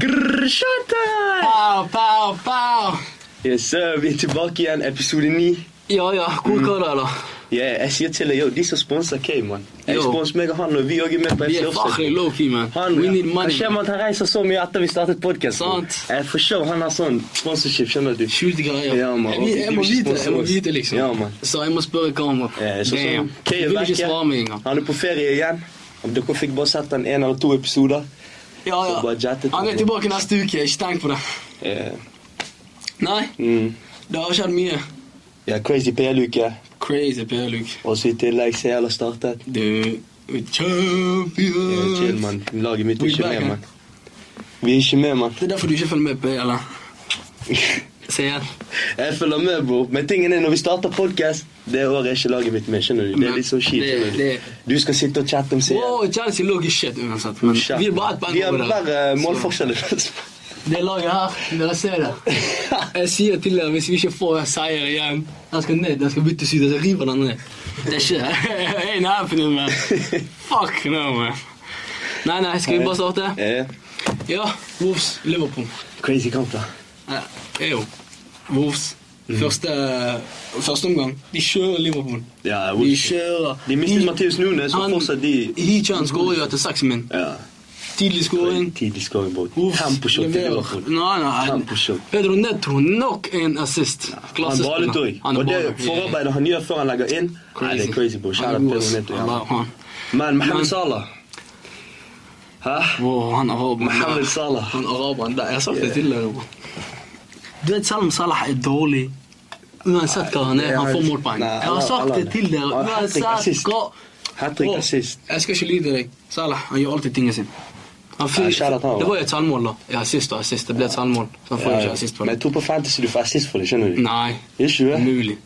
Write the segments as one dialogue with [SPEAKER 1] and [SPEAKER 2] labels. [SPEAKER 1] Grrr, Showtime!
[SPEAKER 2] Pow, pow, pow.
[SPEAKER 1] Yes, sir, vi er tilbake igjen, episode 9.
[SPEAKER 2] Ja, ja. Gode karer, da.
[SPEAKER 1] Yeah, jeg sier til deg, yo, de som sponser K, mann. Jeg
[SPEAKER 2] Yo.
[SPEAKER 1] sponser meg og han, og vi også er med på
[SPEAKER 2] Vi
[SPEAKER 1] FC
[SPEAKER 2] er
[SPEAKER 1] Offside.
[SPEAKER 2] fucking low-key, man.
[SPEAKER 1] Han,
[SPEAKER 2] We
[SPEAKER 1] ja.
[SPEAKER 2] need
[SPEAKER 1] han
[SPEAKER 2] money.
[SPEAKER 1] skjønner at han reiser så mye etter vi startet podkasten.
[SPEAKER 2] Sant.
[SPEAKER 1] Jeg forstår han har sånn sponsorship, skjønner du.
[SPEAKER 2] Skjulte greier.
[SPEAKER 1] Ja, man.
[SPEAKER 2] jeg, vil- jeg, må
[SPEAKER 1] Vi vil ikke
[SPEAKER 2] vite, jeg må
[SPEAKER 1] sponsor oss.
[SPEAKER 2] vite, liksom.
[SPEAKER 1] Ja, man.
[SPEAKER 2] Så jeg må spørre hva om
[SPEAKER 1] Eh, så, sånn, K
[SPEAKER 2] Jeg
[SPEAKER 1] er
[SPEAKER 2] vil ikke
[SPEAKER 1] vekke.
[SPEAKER 2] svare meg engang.
[SPEAKER 1] Han er på ferie igjen. Om Dere fikk bare sett han en eller to episoder.
[SPEAKER 2] Ja,
[SPEAKER 1] Så bare
[SPEAKER 2] ja.
[SPEAKER 1] jettet
[SPEAKER 2] Han er
[SPEAKER 1] han.
[SPEAKER 2] tilbake neste uke. Ikke tenk på det.
[SPEAKER 1] Eh,
[SPEAKER 2] Nei,
[SPEAKER 1] mm.
[SPEAKER 2] det har skjedd mye.
[SPEAKER 1] Ja, crazy PL-uke.
[SPEAKER 2] Crazy Per-Luke.
[SPEAKER 1] Og så i tillegg så jeg har startet.
[SPEAKER 2] Du er
[SPEAKER 1] Ja, chill,
[SPEAKER 2] champion.
[SPEAKER 1] mann. Laget mitt er
[SPEAKER 2] We
[SPEAKER 1] ikke
[SPEAKER 2] back,
[SPEAKER 1] med,
[SPEAKER 2] eh?
[SPEAKER 1] mann. Vi er ikke med, mann.
[SPEAKER 2] Det er derfor du ikke følger med på eller? Se igjen.
[SPEAKER 1] Jeg følger med, bror. Men tingen er, når vi starter podcast, det året er ikke laget mitt med. skjønner du? Det er litt så kjipt.
[SPEAKER 2] Det-
[SPEAKER 1] skjønner
[SPEAKER 2] det-
[SPEAKER 1] Du Du skal sitte og chatte om serien.
[SPEAKER 2] Wow, Chelsea lå i er- shit uansett. Men
[SPEAKER 1] Shit,
[SPEAKER 2] vi er bare
[SPEAKER 1] mann.
[SPEAKER 2] ett poeng
[SPEAKER 1] Vi har
[SPEAKER 2] over
[SPEAKER 1] bare
[SPEAKER 2] dere.
[SPEAKER 1] eh,
[SPEAKER 2] Så
[SPEAKER 1] målforskjeller.
[SPEAKER 2] Det laget her, dere ser det. Jeg sier til dere hvis vi ikke får seier igjen Den skal ned, den skal byttes ut, og så river den ned. Det skjer. Ain't happening, man. Fuck no, man. Nei, nei, skal vi bare starte?
[SPEAKER 1] Eh,
[SPEAKER 2] Ja, Wolves, Liverpool.
[SPEAKER 1] Crazy kamp, da.
[SPEAKER 2] Eh, er jo Wolves.
[SPEAKER 1] Mm.
[SPEAKER 2] Første, første omgang. De kjører Liverpool.
[SPEAKER 1] Ja,
[SPEAKER 2] De
[SPEAKER 1] Wolves.
[SPEAKER 2] kjører.
[SPEAKER 1] De mistet Matheus Nunes, og fortsatt de-
[SPEAKER 2] Hichan skårer jo etter seks min.
[SPEAKER 1] Ja.
[SPEAKER 2] Tidlig skåring.
[SPEAKER 1] Tidlig scoring, bror.
[SPEAKER 2] Wolves
[SPEAKER 1] Temposhot til
[SPEAKER 2] leverer.
[SPEAKER 1] Liverpool.
[SPEAKER 2] Nei, nei.
[SPEAKER 1] Temposhot.
[SPEAKER 2] Pedro Netro, nok en assist.
[SPEAKER 1] Han
[SPEAKER 2] Klassespiller.
[SPEAKER 1] balet òg.
[SPEAKER 2] Han er
[SPEAKER 1] Og det
[SPEAKER 2] baller.
[SPEAKER 1] forarbeidet han gjør før han legger inn, Nei, det er crazy, bror.
[SPEAKER 2] Han
[SPEAKER 1] Shout
[SPEAKER 2] er
[SPEAKER 1] out
[SPEAKER 2] god,
[SPEAKER 1] Pedro
[SPEAKER 2] ass.
[SPEAKER 1] Neto, ja.
[SPEAKER 2] Allah, han.
[SPEAKER 1] Men
[SPEAKER 2] Men-
[SPEAKER 1] Mohammed Salah Hæ?
[SPEAKER 2] Wow, han er araber.
[SPEAKER 1] Mohamed Salah.
[SPEAKER 2] Han er araberen der. Jeg har sagt det til deg. bror. Du vet, selv om Salah er dårlig Uansett hva han er,
[SPEAKER 1] Nei,
[SPEAKER 2] han får
[SPEAKER 1] han-
[SPEAKER 2] målpoeng.
[SPEAKER 1] nei,
[SPEAKER 2] Jeg har sagt
[SPEAKER 1] Allah,
[SPEAKER 2] det til dere.
[SPEAKER 1] Allah. Han fikk
[SPEAKER 2] Uansett
[SPEAKER 1] assist.
[SPEAKER 2] hva
[SPEAKER 1] Hat trick
[SPEAKER 2] Wow,
[SPEAKER 1] assist.
[SPEAKER 2] Jeg skal ikke lyde deg. Salah e han gjør alltid tingene sine.
[SPEAKER 1] Ja,
[SPEAKER 2] Han fikk,
[SPEAKER 1] shout out han,
[SPEAKER 2] det
[SPEAKER 1] da.
[SPEAKER 2] var jo et selvmål, da. Ja, E, assist og assist. Det ble et selvmål. Så han får jo
[SPEAKER 1] Ja,
[SPEAKER 2] ikke assist for
[SPEAKER 1] Men jeg
[SPEAKER 2] det.
[SPEAKER 1] tror på Fantasy du får assist for det, skjønner du?
[SPEAKER 2] Nei,
[SPEAKER 1] Ikke det?
[SPEAKER 2] umulig.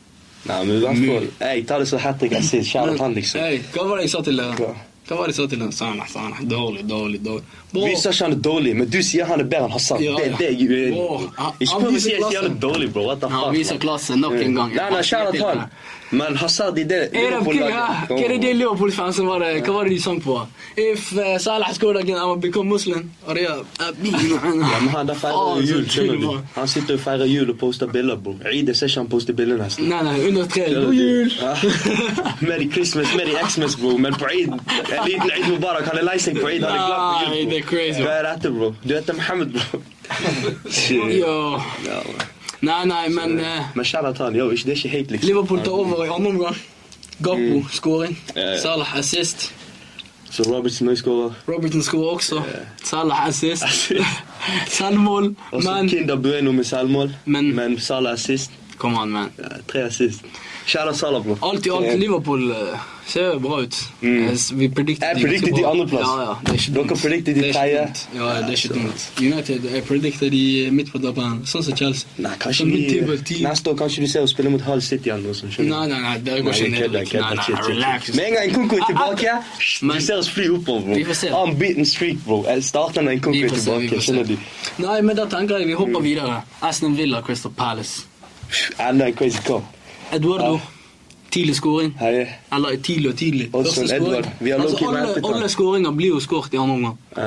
[SPEAKER 1] Nei, men i hvert fall
[SPEAKER 2] Mulig.
[SPEAKER 1] Jeg tar det som hat trick assist. Kjære han, liksom.
[SPEAKER 2] Hey, hva var det jeg sa til deg?
[SPEAKER 1] Hva?
[SPEAKER 2] Hva var det jeg sa til deg? Sana, sana, dårlig, dårlig, dårlig. Bro,
[SPEAKER 1] Vi sa ikke han er dårlig, men du sier han er bedre enn Hassan.
[SPEAKER 2] Ja,
[SPEAKER 1] Det
[SPEAKER 2] ja.
[SPEAKER 1] det er jeg uenig
[SPEAKER 2] Wow,
[SPEAKER 1] i.
[SPEAKER 2] han-
[SPEAKER 1] Ikke
[SPEAKER 2] han
[SPEAKER 1] prøv å
[SPEAKER 2] viser
[SPEAKER 1] si jeg sier han er
[SPEAKER 2] klasse.
[SPEAKER 1] dårlig, bro. What the
[SPEAKER 2] Han
[SPEAKER 1] fuck,
[SPEAKER 2] viser
[SPEAKER 1] man.
[SPEAKER 2] klasse nok en
[SPEAKER 1] Mm.
[SPEAKER 2] gang.
[SPEAKER 1] Nei, nei, kjære
[SPEAKER 2] Jeg
[SPEAKER 1] han.
[SPEAKER 2] vet
[SPEAKER 1] Men Hazard i det
[SPEAKER 2] Arab King,
[SPEAKER 1] Liverpool-laget-
[SPEAKER 2] hæ? Hva er det de Liverpool-fansen var det? Hva var det de sang på? If eh, Salah scored again, I will become Muslim. Og det er eh,
[SPEAKER 1] Ja, men han der feirer jo jul, skjønner du. Han sitter og feirer jul og poster bilder, bro. Eid, jeg ser ikke han poster bilder nesten.
[SPEAKER 2] Nei, nei, under tre. God jul!
[SPEAKER 1] Ja. Merry Christmas, Merry Xmas, bro. Men på Eid, en liten Eid Mubarak, han er lei seg på Eid. Han er glad på
[SPEAKER 2] Nei,
[SPEAKER 1] jul, bro.
[SPEAKER 2] det er crazy.
[SPEAKER 1] Hva er dette, bro? Du heter Mohammed, bro. Shit.
[SPEAKER 2] Yo.
[SPEAKER 1] Ja, bro.
[SPEAKER 2] Nei, nei, men eh,
[SPEAKER 1] Men kjære til han, yo, ikke- det er ikke hate, liksom.
[SPEAKER 2] Liverpool tar over i andre omgang. Gakpo, scoring.
[SPEAKER 1] Mm. Ja, ja.
[SPEAKER 2] Salah, assist.
[SPEAKER 1] Så Robertson også skårer.
[SPEAKER 2] Robertson scorer også. Salah, assist.
[SPEAKER 1] Assist.
[SPEAKER 2] Selvmål.
[SPEAKER 1] Og så
[SPEAKER 2] Men
[SPEAKER 1] Kinder Bueno med selvmål.
[SPEAKER 2] Men-
[SPEAKER 1] Men Salah assist.
[SPEAKER 2] Kom an, man.
[SPEAKER 1] Ja, tre assist. Kjære Salah, bro.
[SPEAKER 2] Alt i alt, Liverpool eh, ser jo bra ut. Eh, s- Vi predicted
[SPEAKER 1] Mm. Jeg
[SPEAKER 2] de ganske
[SPEAKER 1] predicted de
[SPEAKER 2] bra.
[SPEAKER 1] andreplass.
[SPEAKER 2] Ja, ja, det er ikke
[SPEAKER 1] Dere
[SPEAKER 2] dumt.
[SPEAKER 1] predicted de
[SPEAKER 2] Det er ikke
[SPEAKER 1] tredje.
[SPEAKER 2] dumt. Ja, det er
[SPEAKER 1] Ja,
[SPEAKER 2] ikke
[SPEAKER 1] så-
[SPEAKER 2] dumt. United jeg predicted de midt på tabellen, sånn som Chelsea.
[SPEAKER 1] Nei, kanskje
[SPEAKER 2] Så midtable
[SPEAKER 1] vi
[SPEAKER 2] team.
[SPEAKER 1] Neste år kanskje du ser å spille mot Hull City يعني، eller noe sånt. skjønner du?
[SPEAKER 2] Nei, nei, nei, dere går ikke
[SPEAKER 1] jeg
[SPEAKER 2] ned.
[SPEAKER 1] kødder, jeg kødder.
[SPEAKER 2] Nei,
[SPEAKER 1] Chill,
[SPEAKER 2] nei,
[SPEAKER 1] chill,
[SPEAKER 2] relax.
[SPEAKER 1] chill. Med en gang Nkunku er
[SPEAKER 2] Ah, ah.
[SPEAKER 1] tilbake,
[SPEAKER 2] Men-
[SPEAKER 1] du ser oss fly oppover. bro.
[SPEAKER 2] Vi får se.
[SPEAKER 1] Unbeaten streak, bro. Jeg starter når Nkunku
[SPEAKER 2] Vi
[SPEAKER 1] er
[SPEAKER 2] får se, vi
[SPEAKER 1] tilbake.
[SPEAKER 2] får
[SPEAKER 1] Skjønner du? Mm.
[SPEAKER 2] se. Nei, men da tenker jeg vi hopper videre. Aston Villa, Crystal Palace.
[SPEAKER 1] Enda en crazy cop.
[SPEAKER 2] Eduardo, tidlig scoring.
[SPEAKER 1] Hei.
[SPEAKER 2] Eller tidlig og tidlig.
[SPEAKER 1] Olsen,
[SPEAKER 2] Første scoring.
[SPEAKER 1] Edward. Vi har low-key ventet
[SPEAKER 2] alle,
[SPEAKER 1] han.
[SPEAKER 2] alle scoringer blir jo skåret i andre omgang.
[SPEAKER 1] Ja.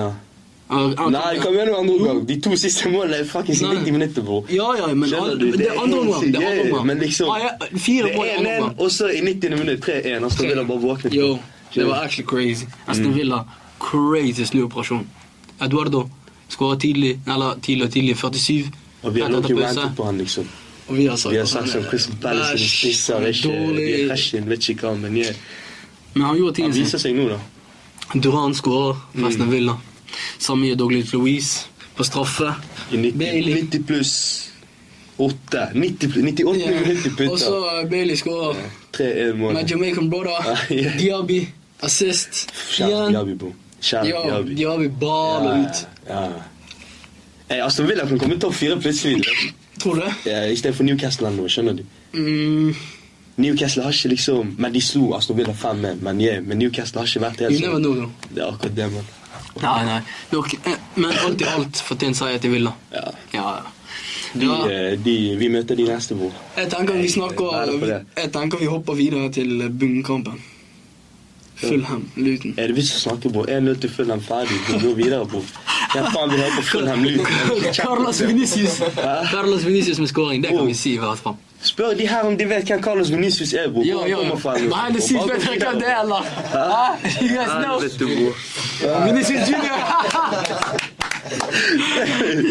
[SPEAKER 2] Han- han-
[SPEAKER 1] Nei, kom igjen nå, andre omgang. De to siste målene er fuckings i
[SPEAKER 2] Nei.
[SPEAKER 1] 90 minutter, bro.
[SPEAKER 2] Ja, ja, men
[SPEAKER 1] Skjønner
[SPEAKER 2] an-
[SPEAKER 1] du?
[SPEAKER 2] det er andre
[SPEAKER 1] helt
[SPEAKER 2] omgang.
[SPEAKER 1] sykt.
[SPEAKER 2] Det er andre
[SPEAKER 1] Ja, ja,
[SPEAKER 2] omgang.
[SPEAKER 1] Men liksom,
[SPEAKER 2] Ah, ja, fire mål i
[SPEAKER 1] det
[SPEAKER 2] andre
[SPEAKER 1] er 1-1,
[SPEAKER 2] omgang.
[SPEAKER 1] og så i 90. minutt 3-1. Og så vil han bare våkne. Mm.
[SPEAKER 2] Yo, det var actually crazy. Aston Villa, crazy snuoperasjon. Eduardo skårer tidlig, eller tidlig og tidlig, 47.
[SPEAKER 1] Og vi har
[SPEAKER 2] Rett etter
[SPEAKER 1] low-key
[SPEAKER 2] pause.
[SPEAKER 1] rantet på han, liksom.
[SPEAKER 2] Og vi har sagt
[SPEAKER 1] Vi har
[SPEAKER 2] at han
[SPEAKER 1] sagt som
[SPEAKER 2] er
[SPEAKER 1] Crystal Palace sine
[SPEAKER 2] bæsj,
[SPEAKER 1] spisser.
[SPEAKER 2] han
[SPEAKER 1] det
[SPEAKER 2] er
[SPEAKER 1] er ikke- De er
[SPEAKER 2] dårlig.
[SPEAKER 1] krasjen, vet ikke hva, men jeg
[SPEAKER 2] Men han gjorde
[SPEAKER 1] Han
[SPEAKER 2] tingen
[SPEAKER 1] viser
[SPEAKER 2] sin.
[SPEAKER 1] seg nå, da.
[SPEAKER 2] Duran skårer for Aston
[SPEAKER 1] Mm.
[SPEAKER 2] Villa. Samme gjør Douglas Louise på straffe.
[SPEAKER 1] I 90,
[SPEAKER 2] Bailey.
[SPEAKER 1] 90 pluss 8. 90, pl- 98
[SPEAKER 2] Ja.
[SPEAKER 1] minutter
[SPEAKER 2] Og
[SPEAKER 1] putter.
[SPEAKER 2] så eh, Bailey skårer.
[SPEAKER 1] 3-1 mål.
[SPEAKER 2] Med Jamaican brother.
[SPEAKER 1] Ah, ja.
[SPEAKER 2] Diaby, assist.
[SPEAKER 1] Kjære
[SPEAKER 2] Igjen.
[SPEAKER 1] Diaby, bro. Kjære
[SPEAKER 2] Ja,
[SPEAKER 1] Diaby.
[SPEAKER 2] Diaby baler ut.
[SPEAKER 1] Ja. Eh, altså, Hey, Aston Villa kan komme topp fire plutselig.
[SPEAKER 2] Tror du det?
[SPEAKER 1] Ja, Istedenfor Newcastle eller noe, skjønner du.
[SPEAKER 2] Mm,
[SPEAKER 1] Newcastle har ikke liksom Men de slo Aston Villa 5-1, men, yeah, men Newcastle har ikke vært helt sånn.
[SPEAKER 2] you never know, though.
[SPEAKER 1] Det er akkurat det, mann.
[SPEAKER 2] Nei, nei. Nok, eh, men alt i alt fortjent seier til Villa.
[SPEAKER 1] Ja.
[SPEAKER 2] Ja, ja.
[SPEAKER 1] De,
[SPEAKER 2] Ja,
[SPEAKER 1] eh, de, vi møter de neste, bror.
[SPEAKER 2] jeg tenker vi
[SPEAKER 1] Nei,
[SPEAKER 2] snakker
[SPEAKER 1] nei, det er for det.
[SPEAKER 2] Jeg tenker vi hopper videre til bunnkampen. Fulham, Luton.
[SPEAKER 1] Er det vits å snakke, bror? 1-0 til Fulham, ferdig. Vi går videre, bror. Jeg faen vil høre på Fulham Luton.
[SPEAKER 2] Carlos Vinicius. Oh. Carlos Vinicius med scoring, det kan vi si i hvert fall.
[SPEAKER 1] Spør de her om de vet hvem Carlos Vinicius er, bror.
[SPEAKER 2] Jo,
[SPEAKER 1] Hvor han
[SPEAKER 2] jo.
[SPEAKER 1] kommer fra, bror.
[SPEAKER 2] Nei, det sier
[SPEAKER 1] Bare gå
[SPEAKER 2] bedre
[SPEAKER 1] videre,
[SPEAKER 2] hvem det er, eller? Hæ? You guys
[SPEAKER 1] bror.
[SPEAKER 2] know?
[SPEAKER 1] Helvete, bror.
[SPEAKER 2] Vinicius Junior. Yo.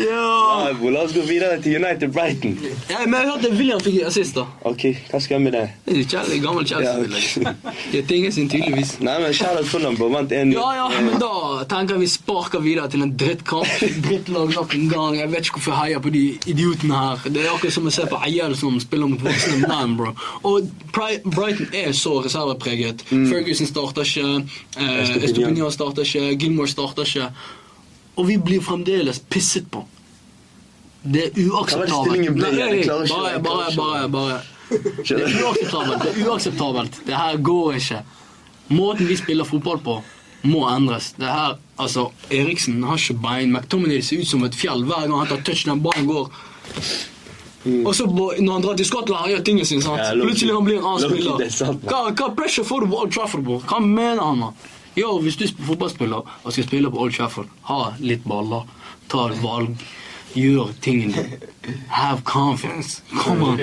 [SPEAKER 1] Ja, bror, La oss gå videre til United Brighton.
[SPEAKER 2] Ja, men jeg hørte William fikk assist, da.
[SPEAKER 1] Ok, hva skal jeg med det?
[SPEAKER 2] Det er jo Chelsea, gammel Chelsea-spiller. liksom. De har tinget sin tydeligvis.
[SPEAKER 1] Nei, men Charlotte Fulham bror, vant 1-0.
[SPEAKER 2] Ja, ja, men da tenker jeg vi sparker videre til en drittkamp. Drittlag nok en gang. Jeg vet ikke hvorfor jeg heier på de idiotene her. Det er akkurat som å se på eier som spiller mot voksne menn, bro. Og Pri- Brighton er så reservepreget.
[SPEAKER 1] Mm.
[SPEAKER 2] Ferguson starter ikke. eh,
[SPEAKER 1] Estopinian.
[SPEAKER 2] Estopinian starter ikke. Gilmore starter ikke. Og vi blir fremdeles pisset på. Det
[SPEAKER 1] Hva
[SPEAKER 2] er
[SPEAKER 1] var det
[SPEAKER 2] uakseptabelt.
[SPEAKER 1] stillingen ble? Jeg klarer ikke-
[SPEAKER 2] bare,
[SPEAKER 1] jeg klarer
[SPEAKER 2] bare,
[SPEAKER 1] ikke.
[SPEAKER 2] bare, bare. Det
[SPEAKER 1] Skjønner
[SPEAKER 2] er
[SPEAKER 1] du?
[SPEAKER 2] uakseptabelt. Det er uakseptabelt. Det her går ikke. Måten vi spiller fotball på, må endres. Det her, altså, Eriksen har ikke bein. McTominay ser ut som et fjell hver gang han tar touch den ballen går. Og så på- når han drar til Skottland, han gjør tingene sine. sant?
[SPEAKER 1] Mm. Ja, low-key.
[SPEAKER 2] Plutselig han blir en annen
[SPEAKER 1] Low-key,
[SPEAKER 2] spiller.
[SPEAKER 1] det er sant, man.
[SPEAKER 2] Hva, hva pressure får du på Old Trafford? Bro? Hva mener han? da? Yo, hvis du er fotballspiller og skal spille på Old Trafford, ha litt baller, ta et valg, gjør tingene dine. Have confidence. Come on.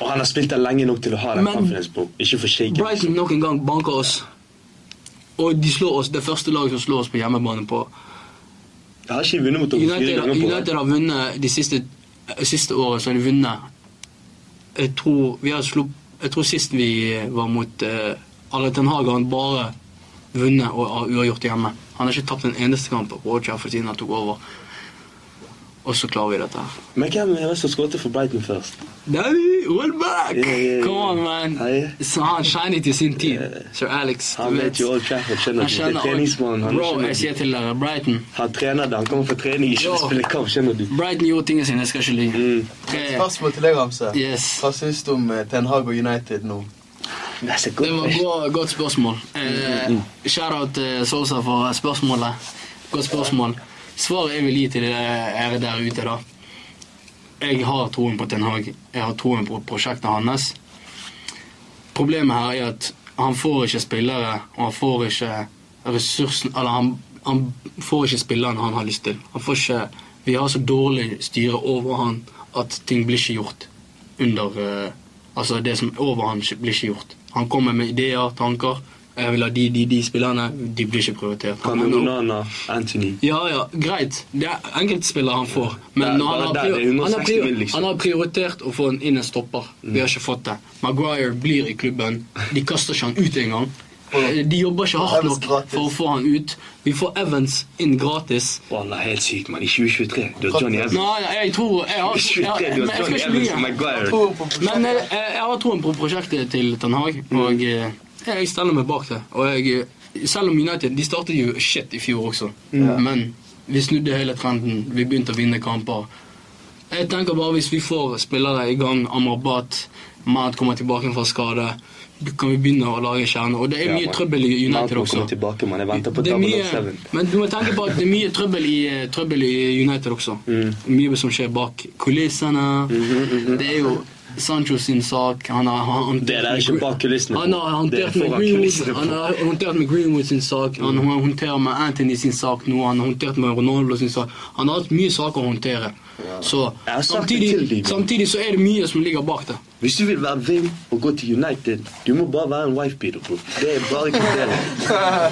[SPEAKER 1] Og han har spilt der lenge nok til å ha den
[SPEAKER 2] Men-
[SPEAKER 1] confidence, bror. Ikke for shaken.
[SPEAKER 2] Brighton nok en gang banker oss. Og de slår oss, det første laget som slår oss på hjemmebane på
[SPEAKER 1] Jeg har ikke vunnet mot dem fire
[SPEAKER 2] United,
[SPEAKER 1] ganger på
[SPEAKER 2] United har vunnet de siste, eh, siste året, så har de vunnet Jeg tror, vi har slupp, jeg tror sist vi var mot uh, Arne Ten Hag, har han bare vunnet og har uavgjort hjemme. Han har ikke tapt en eneste kamp på Old Trafford siden han tok over. Og så klarer vi dette her.
[SPEAKER 1] Men hvem er det som skåret for Brighton først?
[SPEAKER 2] Daddy, we're back!
[SPEAKER 1] Yeah, yeah, yeah.
[SPEAKER 2] Come on, man.
[SPEAKER 1] Hei.
[SPEAKER 2] Så han shiny til sin tid. Sir Alex.
[SPEAKER 1] Han
[SPEAKER 2] du
[SPEAKER 1] vet jo Old Trafford, skjønner du.
[SPEAKER 2] Han
[SPEAKER 1] Det er
[SPEAKER 2] skjønner
[SPEAKER 1] treningsmannen. han
[SPEAKER 2] Bro,
[SPEAKER 1] skjønner
[SPEAKER 2] jeg
[SPEAKER 1] du.
[SPEAKER 2] sier til dere, Brighton.
[SPEAKER 1] Han trener det, han kommer fra trening, ikke
[SPEAKER 2] Ja.
[SPEAKER 1] for å spille kamp, skjønner du.
[SPEAKER 2] Brighton gjorde tingene sine, jeg skal ikke lyve.
[SPEAKER 1] Mm.
[SPEAKER 2] Tre-
[SPEAKER 3] Spørsmål til deg, Ramse.
[SPEAKER 2] Eh, Yes.
[SPEAKER 3] Hva syns du om eh, Ten Hag og United nå?
[SPEAKER 1] Det er så
[SPEAKER 2] Det var
[SPEAKER 1] godt.
[SPEAKER 2] et godt spørsmål. Eh,
[SPEAKER 1] Mm.
[SPEAKER 2] Shout-out til Sosa for spørsmålet. Godt spørsmål. Svaret jeg vil gi til dere der ute, da Jeg har troen på Ten Hag. Jeg har troen på prosjektet hans. Problemet her er at han får ikke spillere, og han får ikke ressursen Eller han, han får ikke spillerne han har lyst til. Han får ikke Vi har så dårlig styre over han at ting blir ikke gjort under eh, Altså det som er over han blir ikke gjort. Han kommer med ideer, tanker. Jeg vil ha de, de, de spillerne. De blir ikke prioritert.
[SPEAKER 1] Han med
[SPEAKER 2] Han-
[SPEAKER 1] Onana, Anthony.
[SPEAKER 2] ja, ja, greit. Det er enkeltspillere han får. Men
[SPEAKER 1] Der-
[SPEAKER 2] når han,
[SPEAKER 1] bare
[SPEAKER 2] har
[SPEAKER 1] der,
[SPEAKER 2] prior-
[SPEAKER 1] det er
[SPEAKER 2] han, har
[SPEAKER 1] 160
[SPEAKER 2] prior
[SPEAKER 1] mil, liksom.
[SPEAKER 2] han har prioritert å få en inn en stopper. Vi har ikke fått det. Maguire blir i klubben. De kaster ikke han ut engang. Eh, De jobber ikke hardt
[SPEAKER 3] Evans
[SPEAKER 2] nok
[SPEAKER 3] gratis.
[SPEAKER 2] for å få han ut. Vi får Evans inn gratis.
[SPEAKER 1] Å, han er helt syk, mann. I 2023. Du har Johnny Evans.
[SPEAKER 2] Nei, jeg tror Jeg, har,
[SPEAKER 1] I
[SPEAKER 2] jeg, jeg,
[SPEAKER 1] 2023, du
[SPEAKER 2] men
[SPEAKER 1] har
[SPEAKER 2] jeg
[SPEAKER 1] Johnny
[SPEAKER 2] skal ikke
[SPEAKER 1] Evans
[SPEAKER 2] lyve.
[SPEAKER 1] og Maguire.
[SPEAKER 3] Tror på
[SPEAKER 2] Men jeg, jeg, jeg har troen på prosjektet til Ten Hag,
[SPEAKER 1] Mm.
[SPEAKER 2] og eh, jeg stiller meg bak det. Og jeg, eh, selv om United De startet jo shit i fjor også, men vi snudde hele trenden. Vi begynte å vinne kamper. Jeg tenker bare Hvis vi får spillere i gang, Amrabat, Mad kommer tilbake fra skade, kan vi begynne å lage kjerne. Og det er
[SPEAKER 1] Ja,
[SPEAKER 2] mye
[SPEAKER 1] man.
[SPEAKER 2] trøbbel i
[SPEAKER 1] Mount
[SPEAKER 2] United
[SPEAKER 1] må komme
[SPEAKER 2] også.
[SPEAKER 1] tilbake, mann. Jeg venter på
[SPEAKER 2] Det er
[SPEAKER 1] Double
[SPEAKER 2] mye,
[SPEAKER 1] 7.
[SPEAKER 2] men du må tenke på at det er mye trøbbel i, eh, trøbbel i United også.
[SPEAKER 1] Mm.
[SPEAKER 2] Mye som skjer bak kulissene.
[SPEAKER 1] Mhm,
[SPEAKER 2] Det er jo Sancho sin sak. Han har, han, har
[SPEAKER 1] Det der er ikke bak kulissene.
[SPEAKER 2] Han har
[SPEAKER 1] Det er
[SPEAKER 2] håndtert med
[SPEAKER 1] foran kulissene.
[SPEAKER 2] Greenwood, han har håndtert med Greenwood sin sak. Han har håndtert med Anthony sin sak nå. Han har håndtert med Ronaldo sin sak. Han har hatt mye saker å håndtere. Så
[SPEAKER 1] Jeg har sagt det til de,
[SPEAKER 2] samtidig,
[SPEAKER 1] men-
[SPEAKER 2] samtidig så er det mye som ligger bak det.
[SPEAKER 1] Hvis du vil være Vim og gå til United, du må bare være en wife beater, bro. Det er bare kriteriet.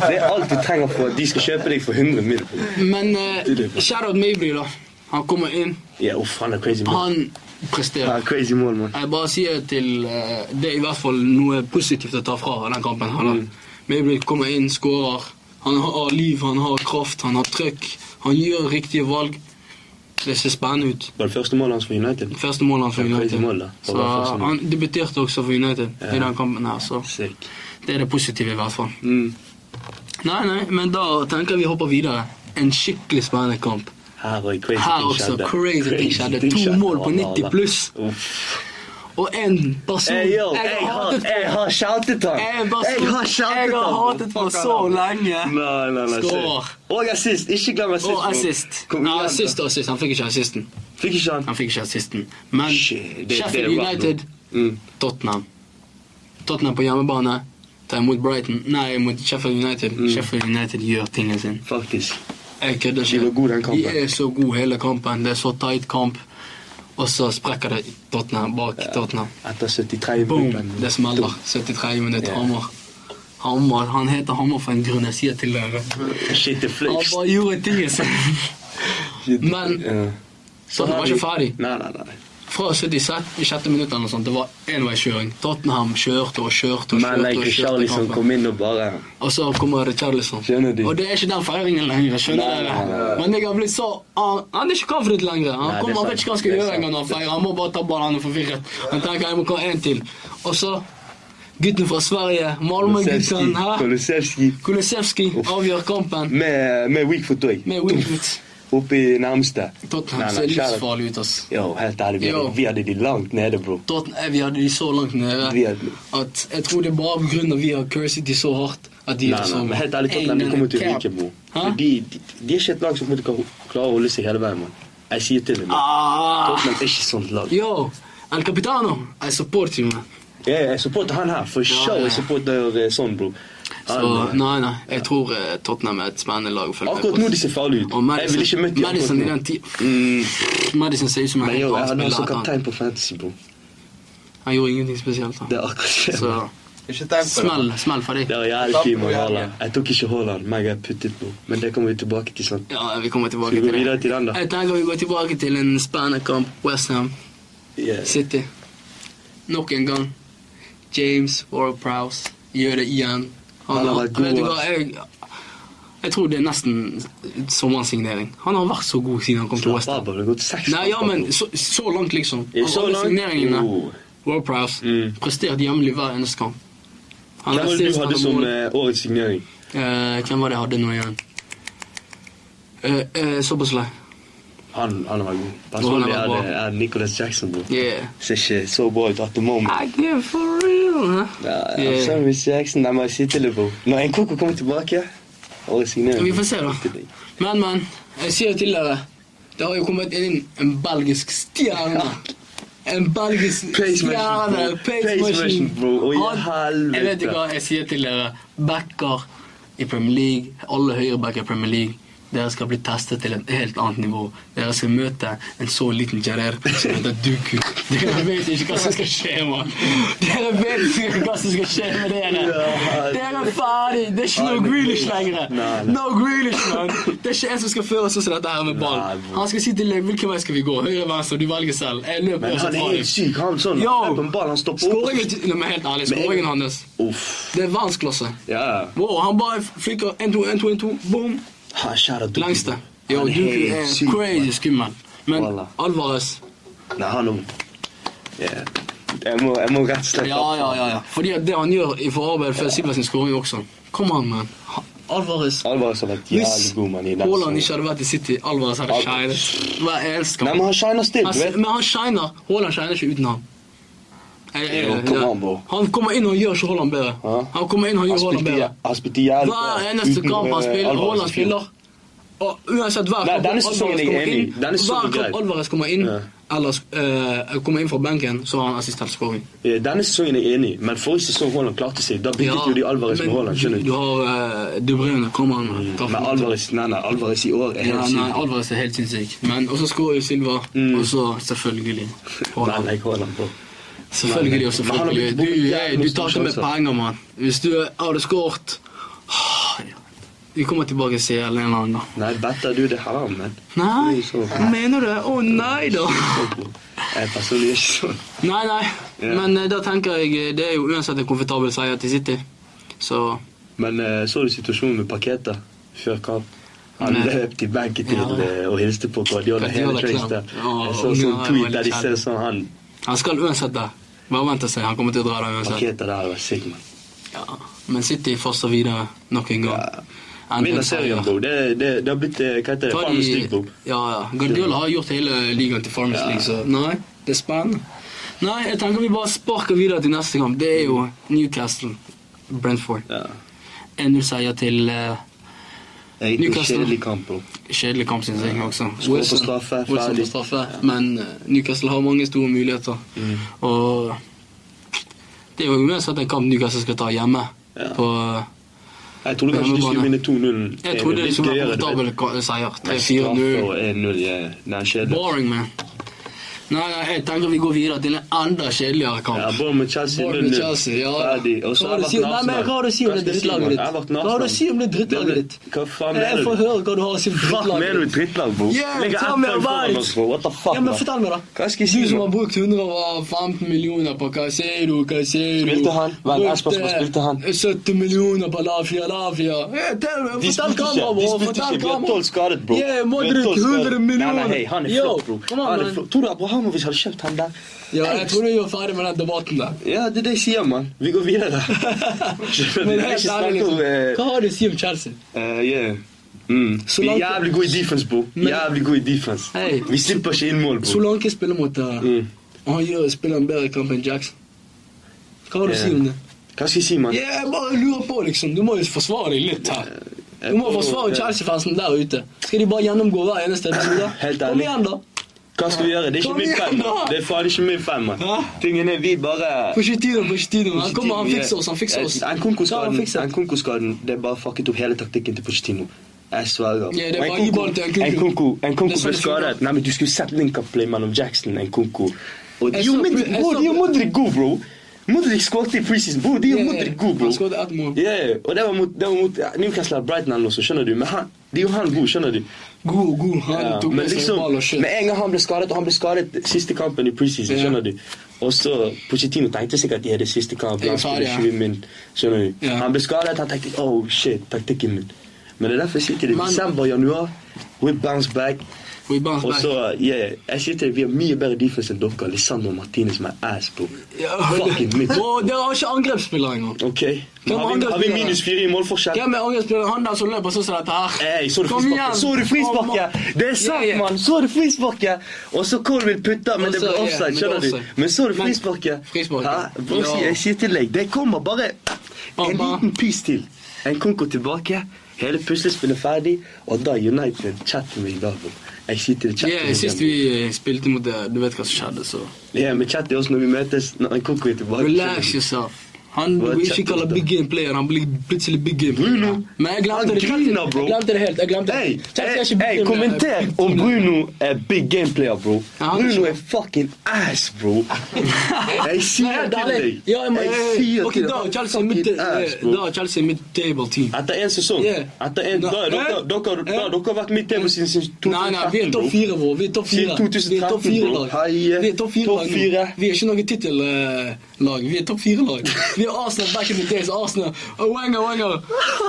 [SPEAKER 1] Det er alt du trenger for at de skal kjøpe deg for 100 mill. bro.
[SPEAKER 2] Men
[SPEAKER 1] Det er det, bro.
[SPEAKER 2] uh, Sharad Mabry, da. Han kommer inn.
[SPEAKER 1] Ja, uff, han er crazy mål.
[SPEAKER 2] Han presterer.
[SPEAKER 1] Han er crazy mål, mann.
[SPEAKER 2] Jeg bare sier til eh, Det er i hvert fall noe positivt å ta fra den kampen. her da.
[SPEAKER 1] Mm.
[SPEAKER 2] Mabry kommer inn, skårer. Han har liv, han har kraft, han har trøkk. Han gjør riktige valg. Det ser spennende ut.
[SPEAKER 1] Var det første målet hans for United?
[SPEAKER 2] Første målet han for
[SPEAKER 1] Ja, crazy
[SPEAKER 2] United.
[SPEAKER 1] mål, da. Det
[SPEAKER 2] så
[SPEAKER 1] var første mål.
[SPEAKER 2] Han debuterte også for United i
[SPEAKER 1] Ja.
[SPEAKER 2] den kampen her, så
[SPEAKER 1] Sick.
[SPEAKER 2] det er det positive, i hvert fall.
[SPEAKER 1] Mm.
[SPEAKER 2] Nei, nei, men da tenker jeg vi hopper videre. En skikkelig spennende kamp.
[SPEAKER 1] Her og crazy
[SPEAKER 2] Her
[SPEAKER 1] ting
[SPEAKER 2] også,
[SPEAKER 1] skjedde.
[SPEAKER 2] crazy ting skjedde.
[SPEAKER 1] ting
[SPEAKER 2] To
[SPEAKER 1] skjedde,
[SPEAKER 2] mål på
[SPEAKER 1] mann,
[SPEAKER 2] 90 pluss.
[SPEAKER 1] Uff.
[SPEAKER 2] Og en person
[SPEAKER 1] Hey, yo,
[SPEAKER 2] jeg
[SPEAKER 1] jeg har,
[SPEAKER 2] hatet
[SPEAKER 1] jeg har shoutet han!
[SPEAKER 2] Jeg, bare,
[SPEAKER 1] Jeg har shoutet
[SPEAKER 2] jeg har
[SPEAKER 1] han!
[SPEAKER 2] hatet på så lenge.
[SPEAKER 1] Nei, nei, nei. sick.
[SPEAKER 2] Skår.
[SPEAKER 1] Og assist. Ikke glem assist.
[SPEAKER 2] Og
[SPEAKER 1] bro.
[SPEAKER 2] assist.
[SPEAKER 1] Kom
[SPEAKER 2] Nei,
[SPEAKER 1] igjen,
[SPEAKER 2] assist og assist. Han fikk ikke assisten.
[SPEAKER 1] da. Fikk ikke han?
[SPEAKER 2] Han fikk ikke assisten. Men
[SPEAKER 1] Shit, det- det er
[SPEAKER 2] Sheffield
[SPEAKER 1] bra, bro.
[SPEAKER 2] United,
[SPEAKER 1] Mm.
[SPEAKER 2] Tottenham. Tottenham på hjemmebane. Det er mot Brighton. Nei, mot Sheffield United. Sheffield United gjør tingen sin.
[SPEAKER 1] Faktisk.
[SPEAKER 2] Mm. Jeg kødder ikke.
[SPEAKER 1] De var gode den kampen.
[SPEAKER 2] De er så gode hele kampen. Det er så tight kamp. Og så sprekker det Tottenham bak Tottenham.
[SPEAKER 1] Etter 73
[SPEAKER 2] Boom!
[SPEAKER 1] minutter.
[SPEAKER 2] Det smeller. 73 minutter.
[SPEAKER 1] Ja.
[SPEAKER 2] Hammer. Hammer. Han heter Hammer for en grunn. Jeg sier til dere.
[SPEAKER 1] Shit, det
[SPEAKER 2] Han
[SPEAKER 1] fløy.
[SPEAKER 2] bare gjorde tingen sin. Men-
[SPEAKER 1] Ja.
[SPEAKER 2] Så han var ikke ferdig.
[SPEAKER 1] Nei, nei, nei.
[SPEAKER 2] Fra 76 i sjette minutt eller noe sånt, det var enveiskjøring. Tottenham kjørte og kjørte og
[SPEAKER 1] Men
[SPEAKER 2] kjørte.
[SPEAKER 1] like,
[SPEAKER 2] og kjørte
[SPEAKER 1] Charlison
[SPEAKER 2] kampen.
[SPEAKER 1] kom inn og bare
[SPEAKER 2] Og så kommer Richarlison.
[SPEAKER 1] Skjønner de.
[SPEAKER 2] Og det er ikke den feiringen lenger. skjønner
[SPEAKER 1] Nei, nei,
[SPEAKER 2] dere?
[SPEAKER 1] nei.
[SPEAKER 2] Men jeg har blitt så... Han, han er ikke confident lenger. Han,
[SPEAKER 1] Nei, det er
[SPEAKER 2] kommer, han
[SPEAKER 1] sant.
[SPEAKER 2] vet ikke hva
[SPEAKER 1] Det
[SPEAKER 2] han skal
[SPEAKER 1] er
[SPEAKER 2] gjøre
[SPEAKER 1] sant.
[SPEAKER 2] engang når han feirer. Han må bare ta ballen, han er forvirret. Han tenker jeg må komme en til. Og så gutten fra Sverige, Malmö-gutten, hæ?
[SPEAKER 1] Kolosevskij.
[SPEAKER 2] Kulisevski avgjør kampen
[SPEAKER 1] Med, med weak foot òg.
[SPEAKER 2] med Wilfred.
[SPEAKER 1] Oppe i nærmeste.
[SPEAKER 2] Tottenham
[SPEAKER 1] Nei, nei,
[SPEAKER 2] ser
[SPEAKER 1] Charlotte.
[SPEAKER 2] livsfarlig ut, ass.
[SPEAKER 1] Yo, helt ærlig, vi
[SPEAKER 2] Yo.
[SPEAKER 1] hadde, vi hadde de langt nede, bro.
[SPEAKER 2] Tottenham, eh, vi hadde de så langt nede
[SPEAKER 1] Vi hadde-
[SPEAKER 2] at jeg tror det er bare på grunn av vi har curset de så hardt at de
[SPEAKER 1] Nei,
[SPEAKER 2] er
[SPEAKER 1] nei,
[SPEAKER 2] så
[SPEAKER 1] men helt ærlig, Tottenham de kommer til å
[SPEAKER 2] Amen,
[SPEAKER 1] ryke, bro.
[SPEAKER 2] Hæ?
[SPEAKER 1] For De, de, de er ikke et lag som kommer til å klare å holde seg hele veien, mann. Jeg sier til dem. man.
[SPEAKER 2] Ah.
[SPEAKER 1] Tottenham er ikke et sånt lag.
[SPEAKER 2] Yo, El Capitano, I support you, man.
[SPEAKER 1] Jeg, jeg supporter han her, for show. Jeg supporter eh, sånn, bro.
[SPEAKER 2] Så,
[SPEAKER 1] Han, eh,
[SPEAKER 2] nei, nei, jeg tror eh, Tottenham er et spennende lag å følge med
[SPEAKER 1] akkurat
[SPEAKER 2] på.
[SPEAKER 1] nå de ser farlige ut.
[SPEAKER 2] Og
[SPEAKER 1] Jeg ville ikke møtt
[SPEAKER 2] Madison,
[SPEAKER 1] dem
[SPEAKER 2] Madison, i
[SPEAKER 1] akkurat nå.
[SPEAKER 2] den ti-
[SPEAKER 1] Mm,
[SPEAKER 2] Madison ser ut som en
[SPEAKER 1] men yo,
[SPEAKER 2] helt
[SPEAKER 1] jeg hadde
[SPEAKER 2] annen
[SPEAKER 1] han som
[SPEAKER 2] spiller. at Han,
[SPEAKER 1] kaptein på Fantasy, bro.
[SPEAKER 2] han gjorde ingenting spesielt.
[SPEAKER 1] Det
[SPEAKER 2] Da.
[SPEAKER 1] er akkurat det.
[SPEAKER 2] Så
[SPEAKER 3] Ikke tenk på det.
[SPEAKER 2] eh, smell, smell for deg.
[SPEAKER 1] Det var jævlig fint med Haaland. Jeg tok ikke Haaland, men jeg puttet på. Men det kommer vi tilbake til snart.
[SPEAKER 2] Ja, vi kommer tilbake
[SPEAKER 1] Skal vi gå
[SPEAKER 2] til
[SPEAKER 1] videre
[SPEAKER 2] det.
[SPEAKER 1] til den, da?
[SPEAKER 2] Jeg tenker vi går tilbake til en spennende kamp. Westham
[SPEAKER 1] Yeah.
[SPEAKER 2] City. Nok en gang. James Warwick Prowse gjør det igjen.
[SPEAKER 1] Han har vært god,
[SPEAKER 2] vet du hva,
[SPEAKER 1] ass.
[SPEAKER 2] jeg, jeg tror det er nesten sommersignering. Han har vært så god siden han kom til
[SPEAKER 1] Slapp
[SPEAKER 2] West Ham.
[SPEAKER 1] av, bro. Det har gått seks
[SPEAKER 2] Nei, ja,
[SPEAKER 1] kamper,
[SPEAKER 2] men
[SPEAKER 1] bro.
[SPEAKER 2] så, så langt, liksom.
[SPEAKER 1] Ja,
[SPEAKER 2] Av
[SPEAKER 1] så
[SPEAKER 2] alle
[SPEAKER 1] langt?
[SPEAKER 2] signeringene.
[SPEAKER 1] Jo.
[SPEAKER 2] World Prowse.
[SPEAKER 1] Mm.
[SPEAKER 2] Prestert jevnlig hver eneste kamp. Han
[SPEAKER 1] Hvem var det
[SPEAKER 2] assist,
[SPEAKER 1] du
[SPEAKER 2] han
[SPEAKER 1] hadde
[SPEAKER 2] har
[SPEAKER 1] som
[SPEAKER 2] mål.
[SPEAKER 1] eh, årets signering?
[SPEAKER 2] Eh, Hvem var det jeg hadde nå igjen? Eh, eh, Såpass lei.
[SPEAKER 1] Han, han var god.
[SPEAKER 2] Han
[SPEAKER 1] Personlig
[SPEAKER 2] var
[SPEAKER 1] er
[SPEAKER 2] bra.
[SPEAKER 1] det er Nicholas Jackson, bro.
[SPEAKER 2] Yeah.
[SPEAKER 1] Ser ikke så bra ut at the moment.
[SPEAKER 2] I give for real, hæ?
[SPEAKER 1] Ja, ja,
[SPEAKER 2] Yeah.
[SPEAKER 1] så hvis Jackson er med sitt telefon. Når en koko kommer tilbake, årets signering.
[SPEAKER 2] Vi får se, da. Men, men. Jeg sier til dere Det har jo kommet inn en belgisk stjerne. En belgisk
[SPEAKER 1] Pace machine,
[SPEAKER 2] stjerne.
[SPEAKER 1] bro.
[SPEAKER 2] Pace
[SPEAKER 1] Pace
[SPEAKER 2] machine.
[SPEAKER 1] machine, bro. Å, i
[SPEAKER 2] Han- Jeg vet
[SPEAKER 1] helvete.
[SPEAKER 2] ikke hva jeg sier til dere. Backer i Premier League. Alle høyrebacker i Premier League. Dere skal bli testet til et helt annet nivå. Dere skal møte en så liten Jarer som heter Duku. Dere vet ikke hva som skal skje, mann. Dere vet ikke hva som skal skje med dere.
[SPEAKER 1] Ja,
[SPEAKER 2] Dere er ferdig. Det er ikke noe Grealish lenger.
[SPEAKER 1] Nei, nei.
[SPEAKER 2] No Grealish, man. Det er ikke en som skal føre oss sånn som dette her med ball.
[SPEAKER 1] Nei, bro.
[SPEAKER 2] Han skal si til deg hvilken vei skal vi gå. Høyre, venstre, du velger selv. Jeg løper
[SPEAKER 1] Men
[SPEAKER 2] og så
[SPEAKER 1] han er
[SPEAKER 2] tar
[SPEAKER 1] helt
[SPEAKER 2] jeg.
[SPEAKER 1] syk. Han sånn,
[SPEAKER 2] Yo!
[SPEAKER 1] han er på en ball, han stopper opp.
[SPEAKER 2] Skåringen til- Nei, men helt ærlig, skåringen hans,
[SPEAKER 1] Uff.
[SPEAKER 2] det er verdensklasse.
[SPEAKER 1] Ja.
[SPEAKER 2] Wow, han bare flykker 1-2, 1-2, 1-2, boom.
[SPEAKER 1] Han kjære Duku.
[SPEAKER 2] Lengste. Yo,
[SPEAKER 1] Han
[SPEAKER 2] du
[SPEAKER 1] er
[SPEAKER 2] er
[SPEAKER 1] helt syk.
[SPEAKER 2] crazy skummel. Men
[SPEAKER 1] Wallah.
[SPEAKER 2] Alvarez
[SPEAKER 1] Nei, han er Yeah. Jeg må, jeg må rett og slett
[SPEAKER 2] Ja, ja, ja. ja. Fordi at det han gjør i forarbeid før Sivertsens skåring også. Kom an, man. Ha- Alvarez
[SPEAKER 1] Alvarez har vært
[SPEAKER 2] Hvis
[SPEAKER 1] jævlig god mann i den
[SPEAKER 2] Haaland
[SPEAKER 1] sesongen.
[SPEAKER 2] ikke hadde vært i City, Alvarez hadde
[SPEAKER 1] Al-
[SPEAKER 2] shinet hver eneste
[SPEAKER 1] Nei,
[SPEAKER 2] kamp.
[SPEAKER 1] men han shiner still, du
[SPEAKER 2] Altså,
[SPEAKER 1] vet.
[SPEAKER 2] men han shiner. Haaland shiner ikke uten ham. Jeg- jeg-
[SPEAKER 1] Jo,
[SPEAKER 2] jeg-
[SPEAKER 1] kom an, bro.
[SPEAKER 2] han kommer inn og gjør ikke Haaland bedre.
[SPEAKER 1] Ja.
[SPEAKER 2] Han kommer inn og gjør
[SPEAKER 1] Han
[SPEAKER 2] Haaland
[SPEAKER 1] spilte
[SPEAKER 2] bedre.
[SPEAKER 1] jæ- han spilte jævlig
[SPEAKER 2] Hver eneste
[SPEAKER 1] uten,
[SPEAKER 2] kamp han
[SPEAKER 1] eh,
[SPEAKER 2] spiller,
[SPEAKER 1] Alvarez
[SPEAKER 2] Haaland
[SPEAKER 1] i fjor.
[SPEAKER 2] spiller. Og uansett hver
[SPEAKER 1] Nei,
[SPEAKER 2] kamp
[SPEAKER 1] denne sesongen er jeg
[SPEAKER 2] kommer
[SPEAKER 1] enig i.
[SPEAKER 2] inn,
[SPEAKER 1] Denne sesongen
[SPEAKER 2] hver
[SPEAKER 1] er
[SPEAKER 2] kamp
[SPEAKER 1] grei.
[SPEAKER 2] Alvarez kommer inn,
[SPEAKER 1] Ja.
[SPEAKER 2] eller eh, kommer inn fra benken, så har han assistert scoring.
[SPEAKER 1] Eh, Denne sesongen er jeg enig, i, men forrige sesong Haaland klarte seg. Da byttet jo de Alvarez med
[SPEAKER 2] men
[SPEAKER 1] Haaland. skjønner
[SPEAKER 2] du-
[SPEAKER 1] du? Mm.
[SPEAKER 2] Du har eh, De Bruyne, kom an. man. Ta
[SPEAKER 1] Men
[SPEAKER 2] for-
[SPEAKER 1] Alvarez nei, nei, Alvarez i år er
[SPEAKER 2] Ja,
[SPEAKER 1] helt
[SPEAKER 2] nei,
[SPEAKER 1] syk.
[SPEAKER 2] Alvarez er helt sinnssyk. Men også skårer jo Silva, og så selvfølgelig
[SPEAKER 1] Nei,
[SPEAKER 2] Haaland.
[SPEAKER 1] Mm. nei, Haaland, bro.
[SPEAKER 2] Selvfølgelig og
[SPEAKER 1] Men han har blitt
[SPEAKER 2] selvfølgelig. Du,
[SPEAKER 1] brukt
[SPEAKER 2] hey,
[SPEAKER 1] jævlig altså.
[SPEAKER 2] du
[SPEAKER 1] mye
[SPEAKER 2] tar ikke med
[SPEAKER 1] sjanser.
[SPEAKER 2] penger, mann. Hvis du hadde skåret Ah, Vi kommer tilbake til CL en eller annen gang.
[SPEAKER 1] Nei, better du, det er haram, men.
[SPEAKER 2] Nei?
[SPEAKER 1] Det er jo så-
[SPEAKER 2] Mener du det? Å nei, da.
[SPEAKER 1] Jeg personlig er ikke sånn.
[SPEAKER 2] Nei, nei.
[SPEAKER 1] Ja.
[SPEAKER 2] Men eh, da tenker jeg eh, det er jo uansett en komfortabel seier til City. Så
[SPEAKER 1] Men eh, så du situasjonen med Paketa før kamp? Han
[SPEAKER 2] Nei.
[SPEAKER 1] løp til benken til
[SPEAKER 2] Ja.
[SPEAKER 1] eh, og hilste på Guardiola hele
[SPEAKER 2] Guardiola
[SPEAKER 1] Trace
[SPEAKER 2] Club.
[SPEAKER 1] der.
[SPEAKER 2] Ja,
[SPEAKER 1] Jeg så
[SPEAKER 2] og
[SPEAKER 1] sånn
[SPEAKER 2] ungene var
[SPEAKER 1] tweet der de
[SPEAKER 2] litt
[SPEAKER 1] ser sånn han
[SPEAKER 2] han skal uansett der. Bare vent og se. Han kommer til å dra der uansett.
[SPEAKER 1] Paketa der var sick, mann.
[SPEAKER 2] Ja. Men City fortsetter videre nok en gang.
[SPEAKER 1] Ja.
[SPEAKER 2] Enda en
[SPEAKER 1] Vinner
[SPEAKER 2] seier.
[SPEAKER 1] serien, bro. Det, det, det har blitt eh, Hva heter det?
[SPEAKER 2] Ta
[SPEAKER 1] Farmers
[SPEAKER 2] de-
[SPEAKER 1] League, bro.
[SPEAKER 2] Ja, ja. Guardiola har gjort hele ligaen til Farmers League, så nei, det er spennende. Nei, jeg tenker vi bare sparker videre til neste kamp. Det er jo Newcastle. Brentford.
[SPEAKER 1] Ja.
[SPEAKER 2] 1-0-seier til eh,
[SPEAKER 1] Egentlig en
[SPEAKER 2] Newcastle.
[SPEAKER 1] kjedelig kamp, bro.
[SPEAKER 2] kjedelig kamp, synes jeg også.
[SPEAKER 1] Skår på straffe,
[SPEAKER 2] Wilson på
[SPEAKER 1] ferdig.
[SPEAKER 2] straffe. Men eh, Newcastle har mange store
[SPEAKER 1] Mm.
[SPEAKER 2] muligheter. Og det er jo uansett en kamp Newcastle skal ta hjemme.
[SPEAKER 1] Ja.
[SPEAKER 2] på eh,
[SPEAKER 1] Jeg trodde kanskje de skulle vinne 2-0.
[SPEAKER 2] Jeg trodde det skulle være komfortabel ka- seier. 3-4-0.
[SPEAKER 1] 1-0 er den kjedelig.
[SPEAKER 2] Boring, man. Nei, nei, jeg tenker vi går videre til en enda kjedeligere
[SPEAKER 1] Ja,
[SPEAKER 2] kamp.
[SPEAKER 1] Bård med Ah, Chelsea.
[SPEAKER 2] Bård med
[SPEAKER 1] 0-0.
[SPEAKER 2] Chelsea, hein. ja.
[SPEAKER 1] Ferdig. Og så
[SPEAKER 2] Hva
[SPEAKER 1] har
[SPEAKER 2] har du
[SPEAKER 1] jeg
[SPEAKER 2] å si-
[SPEAKER 1] vært
[SPEAKER 2] Nei, men hva har du å si om
[SPEAKER 1] Hva
[SPEAKER 2] det
[SPEAKER 1] skal jeg
[SPEAKER 2] drittlaget ditt?
[SPEAKER 1] Jeg har vært
[SPEAKER 2] Hva har du å si om det drittlaget
[SPEAKER 1] ble-
[SPEAKER 2] ditt?
[SPEAKER 1] Hva faen
[SPEAKER 2] Jeg
[SPEAKER 1] er
[SPEAKER 2] får
[SPEAKER 1] det?
[SPEAKER 2] høre hva du har å si om
[SPEAKER 1] Hva mener du
[SPEAKER 2] drittlaget ditt.
[SPEAKER 1] drittlag, bro?
[SPEAKER 2] Yeah,
[SPEAKER 1] Ligger
[SPEAKER 2] tell
[SPEAKER 1] ett
[SPEAKER 2] me
[SPEAKER 1] poeng
[SPEAKER 2] about
[SPEAKER 1] foran
[SPEAKER 2] it.
[SPEAKER 1] oss, bro. What the fuck,
[SPEAKER 2] Ja, men
[SPEAKER 1] man?
[SPEAKER 2] fortell meg, da.
[SPEAKER 1] Hva skal jeg si,
[SPEAKER 2] Du som
[SPEAKER 1] da?
[SPEAKER 2] har brukt 115 millioner på Casero, Casero
[SPEAKER 1] Spilte han? Vel, jeg spørsmål, spilte han?
[SPEAKER 2] 70 millioner på Lafia, Lafia. Eh, tell meg,
[SPEAKER 1] De
[SPEAKER 2] Fortell
[SPEAKER 1] spilte
[SPEAKER 2] kamera,
[SPEAKER 1] ikke. De
[SPEAKER 2] bro.
[SPEAKER 1] spilte
[SPEAKER 2] Fortell
[SPEAKER 1] ikke. Vi har
[SPEAKER 2] kamera.
[SPEAKER 1] tolv skadet, bro.
[SPEAKER 2] Yeah,
[SPEAKER 1] Vi har
[SPEAKER 2] Modric,
[SPEAKER 1] tolv skadet.
[SPEAKER 2] 100
[SPEAKER 1] Nei,
[SPEAKER 2] millioner.
[SPEAKER 1] nei, hei, han er
[SPEAKER 2] Yo,
[SPEAKER 1] flott, bro.
[SPEAKER 2] come on,
[SPEAKER 1] Han er
[SPEAKER 2] man.
[SPEAKER 1] flott. Tror du Abrahamovic hadde kjøpt han der?
[SPEAKER 2] Ja, jeg tror vi er ferdig med den debatten der.
[SPEAKER 1] Ja, det er det jeg sier, mann. Vi går videre. Skjønner du?
[SPEAKER 2] Men
[SPEAKER 1] Jeg har
[SPEAKER 2] helt
[SPEAKER 1] ikke
[SPEAKER 2] ærlig,
[SPEAKER 1] snakket om eh,
[SPEAKER 2] hva har du å si om Chelsea?
[SPEAKER 1] Eh, yeah. Mm.
[SPEAKER 2] Så
[SPEAKER 1] Vi er
[SPEAKER 2] langt-
[SPEAKER 1] jævlig gode i defense, bro.
[SPEAKER 2] Men-
[SPEAKER 1] Jævlig gode i defense.
[SPEAKER 2] Hey.
[SPEAKER 1] Vi slipper ikke inn mål, bro.
[SPEAKER 2] Solanke spiller mot eh,
[SPEAKER 1] Mm.
[SPEAKER 2] Og han gjør, spiller en bedre kamp enn Jackson. Hva har du å si
[SPEAKER 1] Yeah.
[SPEAKER 2] om det?
[SPEAKER 1] Hva skal jeg si, mann?
[SPEAKER 2] Jeg bare lurer på, liksom. Du må jo forsvare deg litt her. Du må forsvare Chelsea-fansen der ute. Skal de bare gjennomgå hver eneste episode?
[SPEAKER 1] Helt
[SPEAKER 2] Kom
[SPEAKER 1] ærlig.
[SPEAKER 2] igjen, da.
[SPEAKER 1] Hva skal vi gjøre? Det er
[SPEAKER 2] Kom
[SPEAKER 1] ikke min
[SPEAKER 2] igjen,
[SPEAKER 1] feil. mann.
[SPEAKER 2] da!
[SPEAKER 1] Det er faen ikke min feil, mann.
[SPEAKER 2] Hæ?
[SPEAKER 1] Tingen er, vi bare
[SPEAKER 2] Pochettino, Pochettino. Han kommer, han fikser oss, han fikser oss.
[SPEAKER 1] Eh,
[SPEAKER 2] Ja, han
[SPEAKER 1] Nkunku-skaden
[SPEAKER 2] fikser.
[SPEAKER 1] Nkunku-skaden, det er bare fucket opp hele taktikken til Pochettino. Jeg sverger.
[SPEAKER 2] Ja, det er
[SPEAKER 1] Og
[SPEAKER 2] bare
[SPEAKER 1] Nkunku-
[SPEAKER 2] gi ballen til Nkunku.
[SPEAKER 1] Nkunku- Nkunku
[SPEAKER 2] Det er sånn
[SPEAKER 1] ble
[SPEAKER 2] det fungerer.
[SPEAKER 1] skadet. Nei, men du skulle sett link-up-play mellom Jackson og Nkunku. Og de
[SPEAKER 2] Jeg
[SPEAKER 1] gjorde
[SPEAKER 2] så-
[SPEAKER 1] Modric-
[SPEAKER 2] jeg
[SPEAKER 1] bro,
[SPEAKER 2] så-
[SPEAKER 1] de gjorde Modric god, bro. Modric skåret i preseason. Bro, de
[SPEAKER 2] Ja,
[SPEAKER 1] gjorde
[SPEAKER 2] ja.
[SPEAKER 1] Modric god, bro.
[SPEAKER 2] Han skåret ett mål.
[SPEAKER 1] Ja, ja, og det var mot, det var mot ja, Newcastle eller Brighton eller noe sånt, skjønner du. Men han, de gjorde han god, skjønner du.
[SPEAKER 2] God, god. Han
[SPEAKER 1] Ja,
[SPEAKER 2] tok
[SPEAKER 1] men
[SPEAKER 2] med seg
[SPEAKER 1] liksom,
[SPEAKER 2] ball og
[SPEAKER 1] med
[SPEAKER 2] shit.
[SPEAKER 1] en gang han ble skadet, og han ble skadet siste kampen i preseason,
[SPEAKER 2] Ja.
[SPEAKER 1] skjønner du. Og så Pochettino tenkte sikkert at det er det siste kamp,
[SPEAKER 2] Jeg
[SPEAKER 1] han
[SPEAKER 2] er
[SPEAKER 1] spiller
[SPEAKER 2] ferdig, ja.
[SPEAKER 1] 20 min, skjønner du.
[SPEAKER 2] Ja.
[SPEAKER 1] Han ble skadet, han tenkte oh shit, taktikken min. Men det er derfor jeg sitter i
[SPEAKER 2] Men-
[SPEAKER 1] desember, januar, we bounce back.
[SPEAKER 2] We bounce
[SPEAKER 1] Og
[SPEAKER 2] back.
[SPEAKER 1] så, yeah, jeg sitter vi har mye bedre defense enn dere. Lisandro Martinez, my ass, bro.
[SPEAKER 2] Ja,
[SPEAKER 1] Fucking mitt.
[SPEAKER 2] Wow, Dere har ikke angrepsspillere engang.
[SPEAKER 1] Ok,
[SPEAKER 2] Hvem
[SPEAKER 1] men har vi,
[SPEAKER 2] andre
[SPEAKER 1] har vi
[SPEAKER 2] spillere?
[SPEAKER 1] minus fire i målforskjell?
[SPEAKER 2] Hvem er angrepsspilleren? Han der som løper sånn som dette her.
[SPEAKER 1] Hey, så du
[SPEAKER 2] Kom igjen.
[SPEAKER 1] frisparket? Så du frisparket? Det er
[SPEAKER 2] Ja,
[SPEAKER 1] sant,
[SPEAKER 2] ja.
[SPEAKER 1] mann! Så du frisparket? Og så Colvin putta, men
[SPEAKER 2] Og
[SPEAKER 1] det
[SPEAKER 2] så-
[SPEAKER 1] ble
[SPEAKER 2] ja,
[SPEAKER 1] offside.
[SPEAKER 2] men det er
[SPEAKER 1] skjønner du?
[SPEAKER 2] offside.
[SPEAKER 1] Men så du
[SPEAKER 2] Men-
[SPEAKER 1] frisparket?
[SPEAKER 2] frisparket.
[SPEAKER 1] Hæ? Hva
[SPEAKER 2] Ja.
[SPEAKER 1] sier jeg sier til deg? Det kommer bare
[SPEAKER 2] Bam,
[SPEAKER 1] en
[SPEAKER 2] bam.
[SPEAKER 1] liten pis til. En konko tilbake. Hele puslespillet ferdig, og da United chatter meg i dag. bro. Jeg sier til chatten
[SPEAKER 2] Ja, Sist vi eh, spilte mot det, du vet hva som skjedde, så
[SPEAKER 1] Ja, men chatter også når vi møtes. Når en konko er tilbake.
[SPEAKER 2] Relax yourself. Han
[SPEAKER 1] Hva
[SPEAKER 2] vil
[SPEAKER 1] chatter
[SPEAKER 2] ikke kalle
[SPEAKER 1] du da?
[SPEAKER 2] big game player, han blir plutselig big game player.
[SPEAKER 1] Bruno,
[SPEAKER 2] Men jeg glemte
[SPEAKER 1] han
[SPEAKER 2] det. Chelsea-
[SPEAKER 1] griner, bro.
[SPEAKER 2] Jeg glemte det helt. jeg glemte det.
[SPEAKER 1] Hey,
[SPEAKER 2] Chelsea er
[SPEAKER 1] hey,
[SPEAKER 2] ikke big
[SPEAKER 1] hey,
[SPEAKER 2] game player.
[SPEAKER 1] kommenter om Bruno er big game player, bro.
[SPEAKER 2] Ja, han er
[SPEAKER 1] Bruno
[SPEAKER 2] ikke-
[SPEAKER 1] er fucking ass, bro. Jeg
[SPEAKER 2] Nei,
[SPEAKER 1] sier
[SPEAKER 2] helt
[SPEAKER 1] til
[SPEAKER 2] ærlig.
[SPEAKER 1] deg.
[SPEAKER 2] Ja, men,
[SPEAKER 1] Jeg sier
[SPEAKER 2] ok,
[SPEAKER 1] til
[SPEAKER 2] da
[SPEAKER 1] deg.
[SPEAKER 2] er Chelsea
[SPEAKER 1] fucking
[SPEAKER 2] mitt,
[SPEAKER 1] ass,
[SPEAKER 2] eh,
[SPEAKER 1] bro.
[SPEAKER 2] da er Chelsea mitt table team.
[SPEAKER 1] Etter én sesong
[SPEAKER 2] Yeah.
[SPEAKER 1] Etter en, da er
[SPEAKER 2] Nei,
[SPEAKER 1] dere,
[SPEAKER 2] eh,
[SPEAKER 1] dere, da
[SPEAKER 2] eh.
[SPEAKER 1] har dere vært mitt tema siden siden
[SPEAKER 2] Nei, nei, vi er
[SPEAKER 1] 2013,
[SPEAKER 2] topp
[SPEAKER 1] bro.
[SPEAKER 2] fire, bror. Vi er topp fire.
[SPEAKER 1] Siden
[SPEAKER 2] Vi er topp
[SPEAKER 1] 2013, bro.
[SPEAKER 2] fire-lag.
[SPEAKER 1] Hei,
[SPEAKER 2] Vi er topp fire
[SPEAKER 1] topp
[SPEAKER 2] lag nå.
[SPEAKER 1] fire.
[SPEAKER 2] Vi er ikke noe eh, tittellag. Vi er topp fire-lag. Vi er Arsenal back in the days. Arsenal. Oh, Wenger, Wenger.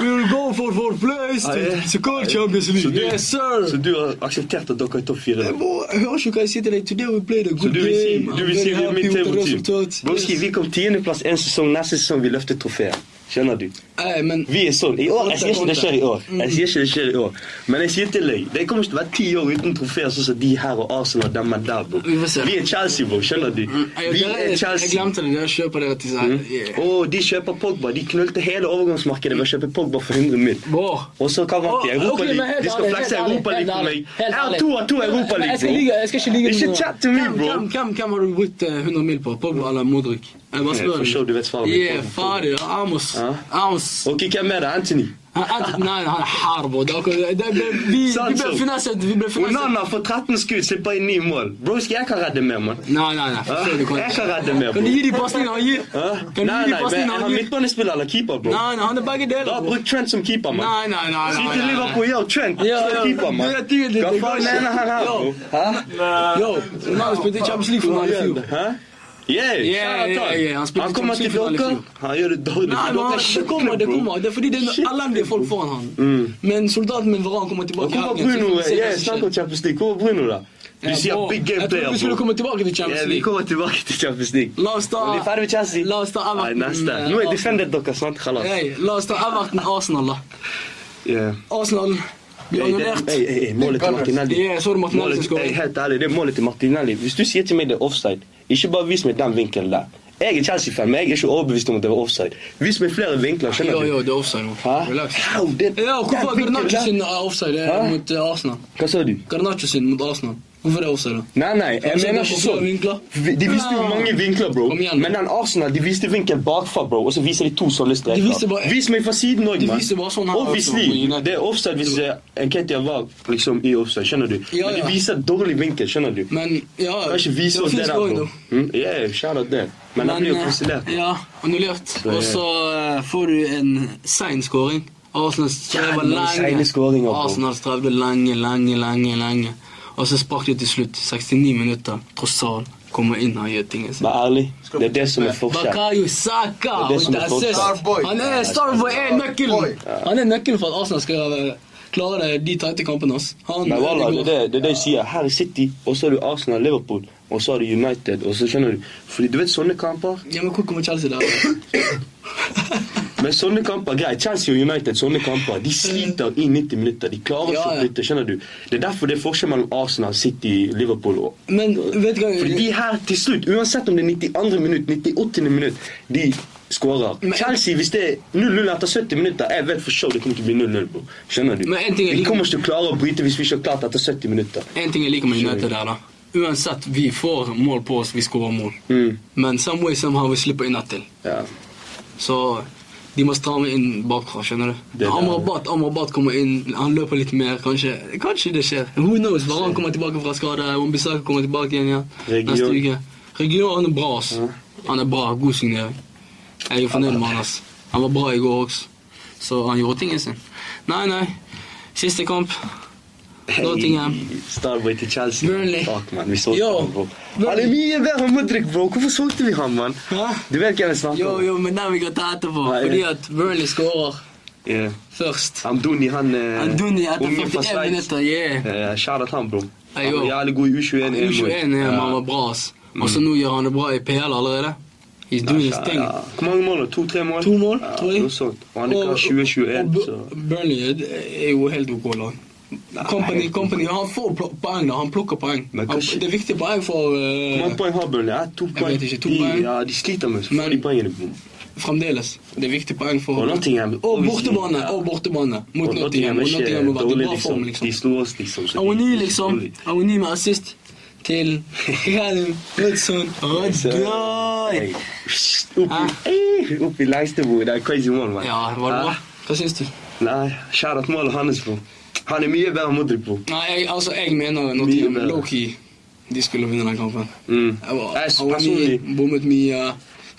[SPEAKER 2] We will go for fourth place
[SPEAKER 1] Hei.
[SPEAKER 2] to Eh? secure
[SPEAKER 1] eh?
[SPEAKER 2] Champions
[SPEAKER 1] Så
[SPEAKER 2] League.
[SPEAKER 1] du-
[SPEAKER 2] Yes, sir.
[SPEAKER 1] Så du har akseptert at dere er topp fire?
[SPEAKER 2] Eh,
[SPEAKER 1] da?
[SPEAKER 2] bror, jeg hører ikke hva jeg sier til deg. Today we played a
[SPEAKER 1] Så
[SPEAKER 2] good
[SPEAKER 1] du vil si,
[SPEAKER 2] game.
[SPEAKER 1] du
[SPEAKER 2] I'm
[SPEAKER 1] vil si
[SPEAKER 2] very
[SPEAKER 1] vi er
[SPEAKER 2] happy
[SPEAKER 1] mitt
[SPEAKER 2] with the
[SPEAKER 1] temateam?
[SPEAKER 2] resultat.
[SPEAKER 1] Broski,
[SPEAKER 2] Yes.
[SPEAKER 1] vi kom tiendeplass en sesong, neste sesong vi løfter trofeet. Skjønner du?
[SPEAKER 2] Eh, men
[SPEAKER 1] Vi er sånn. I år, Jeg sier ikke det skjer i år. Jeg sier ikke det skjer i år. Men jeg sier til deg, det kommer ikke til å være ti år uten trofeer sånn som de her og Arsenal og dem er der, bro.
[SPEAKER 2] Vi får se. Mm,
[SPEAKER 1] Vi er Chelsea, bro. Skjønner du?
[SPEAKER 2] jeg,
[SPEAKER 1] Vi
[SPEAKER 2] dere-
[SPEAKER 1] er
[SPEAKER 2] jeg
[SPEAKER 1] Chelsea.
[SPEAKER 2] glemte det. Dere kjøper dere til seg. Yeah.
[SPEAKER 1] Og de kjøper Pogba. De knulte hele overgangsmarkedet ved å kjøpe Pogba for 100 mill.
[SPEAKER 2] Bror.
[SPEAKER 1] Og så hva vant de?
[SPEAKER 2] Åh, ok,
[SPEAKER 1] Europa
[SPEAKER 2] men
[SPEAKER 1] League.
[SPEAKER 2] helt
[SPEAKER 1] De skal
[SPEAKER 2] ærlig,
[SPEAKER 1] flekse
[SPEAKER 2] helt ærlig,
[SPEAKER 1] Europa League
[SPEAKER 2] helt
[SPEAKER 1] for meg.
[SPEAKER 2] ærlig, helt
[SPEAKER 1] Jeg har
[SPEAKER 2] ærlig.
[SPEAKER 1] to av to Europa
[SPEAKER 2] Men Jeg skal, ligge,
[SPEAKER 1] League,
[SPEAKER 2] jeg skal ikke
[SPEAKER 1] bro.
[SPEAKER 2] ligge
[SPEAKER 1] Ikke chat to me,
[SPEAKER 2] Hvem-
[SPEAKER 1] bro.
[SPEAKER 2] Hvem, hvem, hvem har du brukt eh, 100 mil på? Pogba eller Modric? Jeg bare
[SPEAKER 1] Ok,
[SPEAKER 2] spør.
[SPEAKER 1] for sure, du vet svaret mitt.
[SPEAKER 2] Yeah, ferdig. Amos.
[SPEAKER 1] Ja.
[SPEAKER 2] Amos.
[SPEAKER 1] Ok, hvem er det? Anthony?
[SPEAKER 2] Han er- Nei, han er her, bro. Det er akkurat- det ble, vi, vi ble
[SPEAKER 1] Sancho.
[SPEAKER 2] finesset. Vi ble finesset.
[SPEAKER 1] Onana får 13 skudd, slipper inn 9 mål. Broski, jeg kan redde mer, mann.
[SPEAKER 2] Nei, nei, nei. forstår du hva
[SPEAKER 1] Jeg kan redde mer,
[SPEAKER 2] Kan du
[SPEAKER 1] bro.
[SPEAKER 2] gi de pasningene han gir?
[SPEAKER 1] Hæ?
[SPEAKER 2] Kan du
[SPEAKER 1] Nei,
[SPEAKER 2] gi de
[SPEAKER 1] nei, men
[SPEAKER 2] pasningene
[SPEAKER 1] er
[SPEAKER 2] han
[SPEAKER 1] han
[SPEAKER 2] gir?
[SPEAKER 1] midtbanespiller eller keeper, bro?
[SPEAKER 2] Nei, nei, han er begge
[SPEAKER 1] Da
[SPEAKER 2] deler. bro.
[SPEAKER 1] bruk Trent som keeper, mann.
[SPEAKER 2] Nei, nei, nei.
[SPEAKER 1] Si
[SPEAKER 2] nei,
[SPEAKER 1] til
[SPEAKER 2] nei, nei.
[SPEAKER 1] Liverpool, yo, Trent,
[SPEAKER 2] Ja, ja.
[SPEAKER 1] slå keeper, mann.
[SPEAKER 2] Det er tydelig,
[SPEAKER 1] Hva
[SPEAKER 2] det går
[SPEAKER 1] faen
[SPEAKER 2] ikke.
[SPEAKER 1] mener han her,
[SPEAKER 2] Ja.
[SPEAKER 1] bro? Hæ?
[SPEAKER 2] Yo, Ronaldo spilte i Champions League for meg i fjor.
[SPEAKER 1] Hæ? Yeah,
[SPEAKER 2] yeah,
[SPEAKER 1] shout out.
[SPEAKER 2] yeah, yeah, han spilte
[SPEAKER 1] Han kommer til
[SPEAKER 2] Champions League
[SPEAKER 1] dere.
[SPEAKER 2] for alle
[SPEAKER 1] Han gjør det dårlig.
[SPEAKER 2] Nei, men
[SPEAKER 1] Dere
[SPEAKER 2] han,
[SPEAKER 1] er
[SPEAKER 2] det kommer, det
[SPEAKER 1] skikkelig, bro.
[SPEAKER 2] kommer. Det er fordi det er noen elendige folk foran han. Men soldaten min Varan kommer tilbake.
[SPEAKER 1] Mm. Og Hvor var
[SPEAKER 2] i helgen, så
[SPEAKER 1] Bruno?
[SPEAKER 2] vi får se hva
[SPEAKER 1] Yeah,
[SPEAKER 2] som
[SPEAKER 1] snakk
[SPEAKER 2] skjer.
[SPEAKER 1] om Champions League. Hvor var Bruno, da? Du
[SPEAKER 2] Ja,
[SPEAKER 1] sier
[SPEAKER 2] bro,
[SPEAKER 1] big game player,
[SPEAKER 2] Jeg trodde vi skulle
[SPEAKER 1] bro.
[SPEAKER 2] komme tilbake til Champions
[SPEAKER 1] Ja, vi
[SPEAKER 2] League.
[SPEAKER 1] kommer tilbake til Champions League.
[SPEAKER 2] La oss ta
[SPEAKER 1] Men vi er ferdig med Chelsea.
[SPEAKER 2] La oss ta
[SPEAKER 1] Nei,
[SPEAKER 2] Everton.
[SPEAKER 1] neste.
[SPEAKER 2] eh,
[SPEAKER 1] Nå er
[SPEAKER 2] Arsenal.
[SPEAKER 1] defended dere, sant? Kalas.
[SPEAKER 2] Hey, la oss ta Everton Arsenal, da.
[SPEAKER 1] Yeah.
[SPEAKER 2] Arsenal blir
[SPEAKER 1] Hey, det-
[SPEAKER 2] annullert.
[SPEAKER 1] hey, hey, hey, målet til Martinelli.
[SPEAKER 2] Yeah, så er det Martinelli
[SPEAKER 1] Målet-
[SPEAKER 2] som skårer.
[SPEAKER 1] Hey, Helt ærlig, det er målet til Martinelli. Hvis du sier til meg det er offside, ikke bare vis meg den vinkelen der. Jeg er Chelsea-fan, men jeg er ikke overbevist om at det var offside. Vis meg flere vinkler, skjønner
[SPEAKER 2] Jo,
[SPEAKER 1] du?
[SPEAKER 2] jo, det er offside nå.
[SPEAKER 1] Hæ?
[SPEAKER 2] Relax.
[SPEAKER 1] Au, det-
[SPEAKER 2] Ja,
[SPEAKER 1] den
[SPEAKER 2] hvorfor er
[SPEAKER 1] vinkelen
[SPEAKER 2] Garnaccio
[SPEAKER 1] der-
[SPEAKER 2] sin eh, offside eh,
[SPEAKER 1] Hæ?
[SPEAKER 2] mot eh, Arsenal?
[SPEAKER 1] Hva sa du?
[SPEAKER 2] Garnaccio sin mot Arsenal. Hvorfor det offside, da?
[SPEAKER 1] Nei, nei, jeg mener ikke
[SPEAKER 2] Forklar
[SPEAKER 1] sånn.
[SPEAKER 2] vinkler.
[SPEAKER 1] Vi- De viste jo mange vinkler, bro.
[SPEAKER 2] Kom igjen.
[SPEAKER 1] Men den Arsenal de viste vinkel bakfra, bro. Og så viser de to sånne
[SPEAKER 2] De viste bare-
[SPEAKER 1] streker. Vis meg fra siden òg,
[SPEAKER 2] De
[SPEAKER 1] mann.
[SPEAKER 2] viste bare sånn her, altså, på
[SPEAKER 1] Obviously.
[SPEAKER 2] United.
[SPEAKER 1] Det er offside hvis eh, Nketia var liksom i offside, skjønner du.
[SPEAKER 2] Ja,
[SPEAKER 1] Men de
[SPEAKER 2] ja.
[SPEAKER 1] viser dårlig vinkel, skjønner du.
[SPEAKER 2] Men ja
[SPEAKER 1] Kan ikke vise oss det der,
[SPEAKER 2] goal,
[SPEAKER 1] bro.
[SPEAKER 2] da.
[SPEAKER 1] Mm, yeah, shout out det. Men han blir jo
[SPEAKER 2] eh,
[SPEAKER 1] kansellert.
[SPEAKER 2] Ja, annullert.
[SPEAKER 1] er-
[SPEAKER 2] Og så eh, får du en sein skåring. Arsenal strevde
[SPEAKER 1] Jævla sene skåringer, bro.
[SPEAKER 2] lenge. Arsenal strevde lenge, lenge, lenge. lenge. Og så spark de til slutt. 69 minutter. Trossal kommer inn og gjør tingene sine.
[SPEAKER 1] Vær ærlig. Det er det som er forskjell.
[SPEAKER 2] Bakayo Saka!
[SPEAKER 1] Det er det som er
[SPEAKER 2] with assist.
[SPEAKER 3] Starboy.
[SPEAKER 2] Han er Starboy er nøkkelen! Han er nøkkelen for at Arsenal skal eh, klare det, de tighte kampene. ass. Han-
[SPEAKER 1] Men wallah, det
[SPEAKER 2] går-
[SPEAKER 1] er det, det er det jeg sier. Her er City, og så er du Arsenal, Liverpool, og så er du United. og så skjønner du. Fordi du vet sånne kamper
[SPEAKER 2] Ja, men hvor kommer Chelsea der?
[SPEAKER 1] Men sånne kamper, greit, Chelsea og United sånne kamper, de sliter i 90 minutter. De klarer ikke
[SPEAKER 2] Ja, ja.
[SPEAKER 1] å flytte. skjønner du? Det er derfor det er forskjell mellom Arsenal, City, Liverpool og
[SPEAKER 2] Men vet du hva
[SPEAKER 1] Fordi de her til slutt, uansett om det er 92. minutt, 98. minutt, de skårer.
[SPEAKER 2] Men-
[SPEAKER 1] Chelsea, hvis det er 0-0 etter 70 minutter, jeg vet for sure det kommer til å bli 0-0. bro. Skjønner du?
[SPEAKER 2] Men en ting er
[SPEAKER 1] Vi
[SPEAKER 2] lik-
[SPEAKER 1] kommer ikke til å klare å bryte hvis vi ikke har klart etter 70 minutter.
[SPEAKER 2] En ting jeg liker med United der, da. Uansett, vi får mål på oss, vi skårer mål.
[SPEAKER 1] Mm.
[SPEAKER 2] Men some way, somehow, vi slipper inn ett til.
[SPEAKER 1] Ja.
[SPEAKER 2] Så de må stramme inn bakfra, skjønner du.
[SPEAKER 1] Det er det.
[SPEAKER 2] Amrabat Amrabat kommer inn, han løper litt mer, kanskje. Kanskje det skjer. Who knows? Bare han kommer tilbake fra skade. Wambisaka kommer tilbake igjen ja.
[SPEAKER 1] Region. Mm.
[SPEAKER 2] neste uke. Region han er bra, ass. Han er bra. God signering. Jeg er fornøyd med han, ass. Han var bra i går også. Så han gjorde tingene sine. Nei, nei. Siste kamp. Nottingham.
[SPEAKER 1] Starboy til Chelsea.
[SPEAKER 2] Burnley.
[SPEAKER 1] Fuck, man. Vi solgte
[SPEAKER 2] Yo,
[SPEAKER 1] ham, bro.
[SPEAKER 2] Burnley.
[SPEAKER 1] Han er mye bedre enn Modric, bro. Hvorfor solgte vi ham, mann?
[SPEAKER 2] Hæ?
[SPEAKER 1] Du vet hvem jeg snakker
[SPEAKER 2] Jo,
[SPEAKER 1] om?
[SPEAKER 2] jo, men den vi kan ta etterpå.
[SPEAKER 1] Nei.
[SPEAKER 2] Fordi at Burnley skårer
[SPEAKER 1] Yeah.
[SPEAKER 2] først.
[SPEAKER 1] Amdouni, han eh,
[SPEAKER 2] Andoni etter
[SPEAKER 1] ungen fra
[SPEAKER 2] 41
[SPEAKER 1] Sveits.
[SPEAKER 2] minutter. Yeah.
[SPEAKER 1] Eh, Shout out han, bro. Han
[SPEAKER 2] Ayo.
[SPEAKER 1] var jævlig god i eh, U21. EM, bro.
[SPEAKER 2] U21 er han eh, var bra, ass. Og så nå gjør han det bra i PL allerede. He's
[SPEAKER 1] Mm. Ja,
[SPEAKER 2] doing his
[SPEAKER 1] ja,
[SPEAKER 2] thing.
[SPEAKER 1] ja. Hvor mange mål? da? To-tre mål?
[SPEAKER 2] To mål,
[SPEAKER 1] Ja,
[SPEAKER 2] tror jeg.
[SPEAKER 1] noe sånt. Og han er
[SPEAKER 2] Og-
[SPEAKER 1] ikke 2021,
[SPEAKER 2] og
[SPEAKER 1] så
[SPEAKER 2] Bu- Burnley det er jo helt OK lag. Company,
[SPEAKER 1] helt
[SPEAKER 2] company, Han får pl- poeng, da. Han plukker poeng.
[SPEAKER 1] Men
[SPEAKER 2] Han,
[SPEAKER 1] kanskje-
[SPEAKER 2] det er viktige poeng for eh,
[SPEAKER 1] Hvor mange poeng har Burnley? Ja, to poeng.
[SPEAKER 2] vet ikke, to
[SPEAKER 1] de,
[SPEAKER 2] poeng.
[SPEAKER 1] Ja, de sliter med så
[SPEAKER 2] Men-
[SPEAKER 1] får de poengene. bro.
[SPEAKER 2] Fremdeles. Det er viktige poeng for
[SPEAKER 1] Og Nottingham,
[SPEAKER 2] Og
[SPEAKER 1] obviously.
[SPEAKER 2] bortebane. Og bortebane. Mot
[SPEAKER 1] Og
[SPEAKER 2] Nottingham.
[SPEAKER 1] er
[SPEAKER 2] Og
[SPEAKER 1] ikke
[SPEAKER 2] Nottingham har vært i
[SPEAKER 1] dårlig,
[SPEAKER 2] bra form, liksom.
[SPEAKER 1] De slo oss, liksom. så de-
[SPEAKER 2] Awoni,
[SPEAKER 1] de-
[SPEAKER 2] liksom. Awoni med assist til Ghanem Knutson Odoi.
[SPEAKER 1] Hey, Opp
[SPEAKER 2] Ah.
[SPEAKER 1] i, eh, opp i Leistebo. Det er crazy mål, mann.
[SPEAKER 2] Ja, var det bra?
[SPEAKER 1] Ah.
[SPEAKER 2] Hva syns du?
[SPEAKER 1] Nei, kjære at målet hans, bro. Han er mye bedre enn Modric, bro.
[SPEAKER 2] Nei, jeg, altså, jeg mener
[SPEAKER 1] Mye
[SPEAKER 2] Nottingham
[SPEAKER 1] bedre.
[SPEAKER 2] Loki de skulle vinne den kampen.
[SPEAKER 1] Mm.
[SPEAKER 2] Jeg var-
[SPEAKER 1] Jeg er
[SPEAKER 2] Awoni
[SPEAKER 1] personlig-
[SPEAKER 2] bommet mye.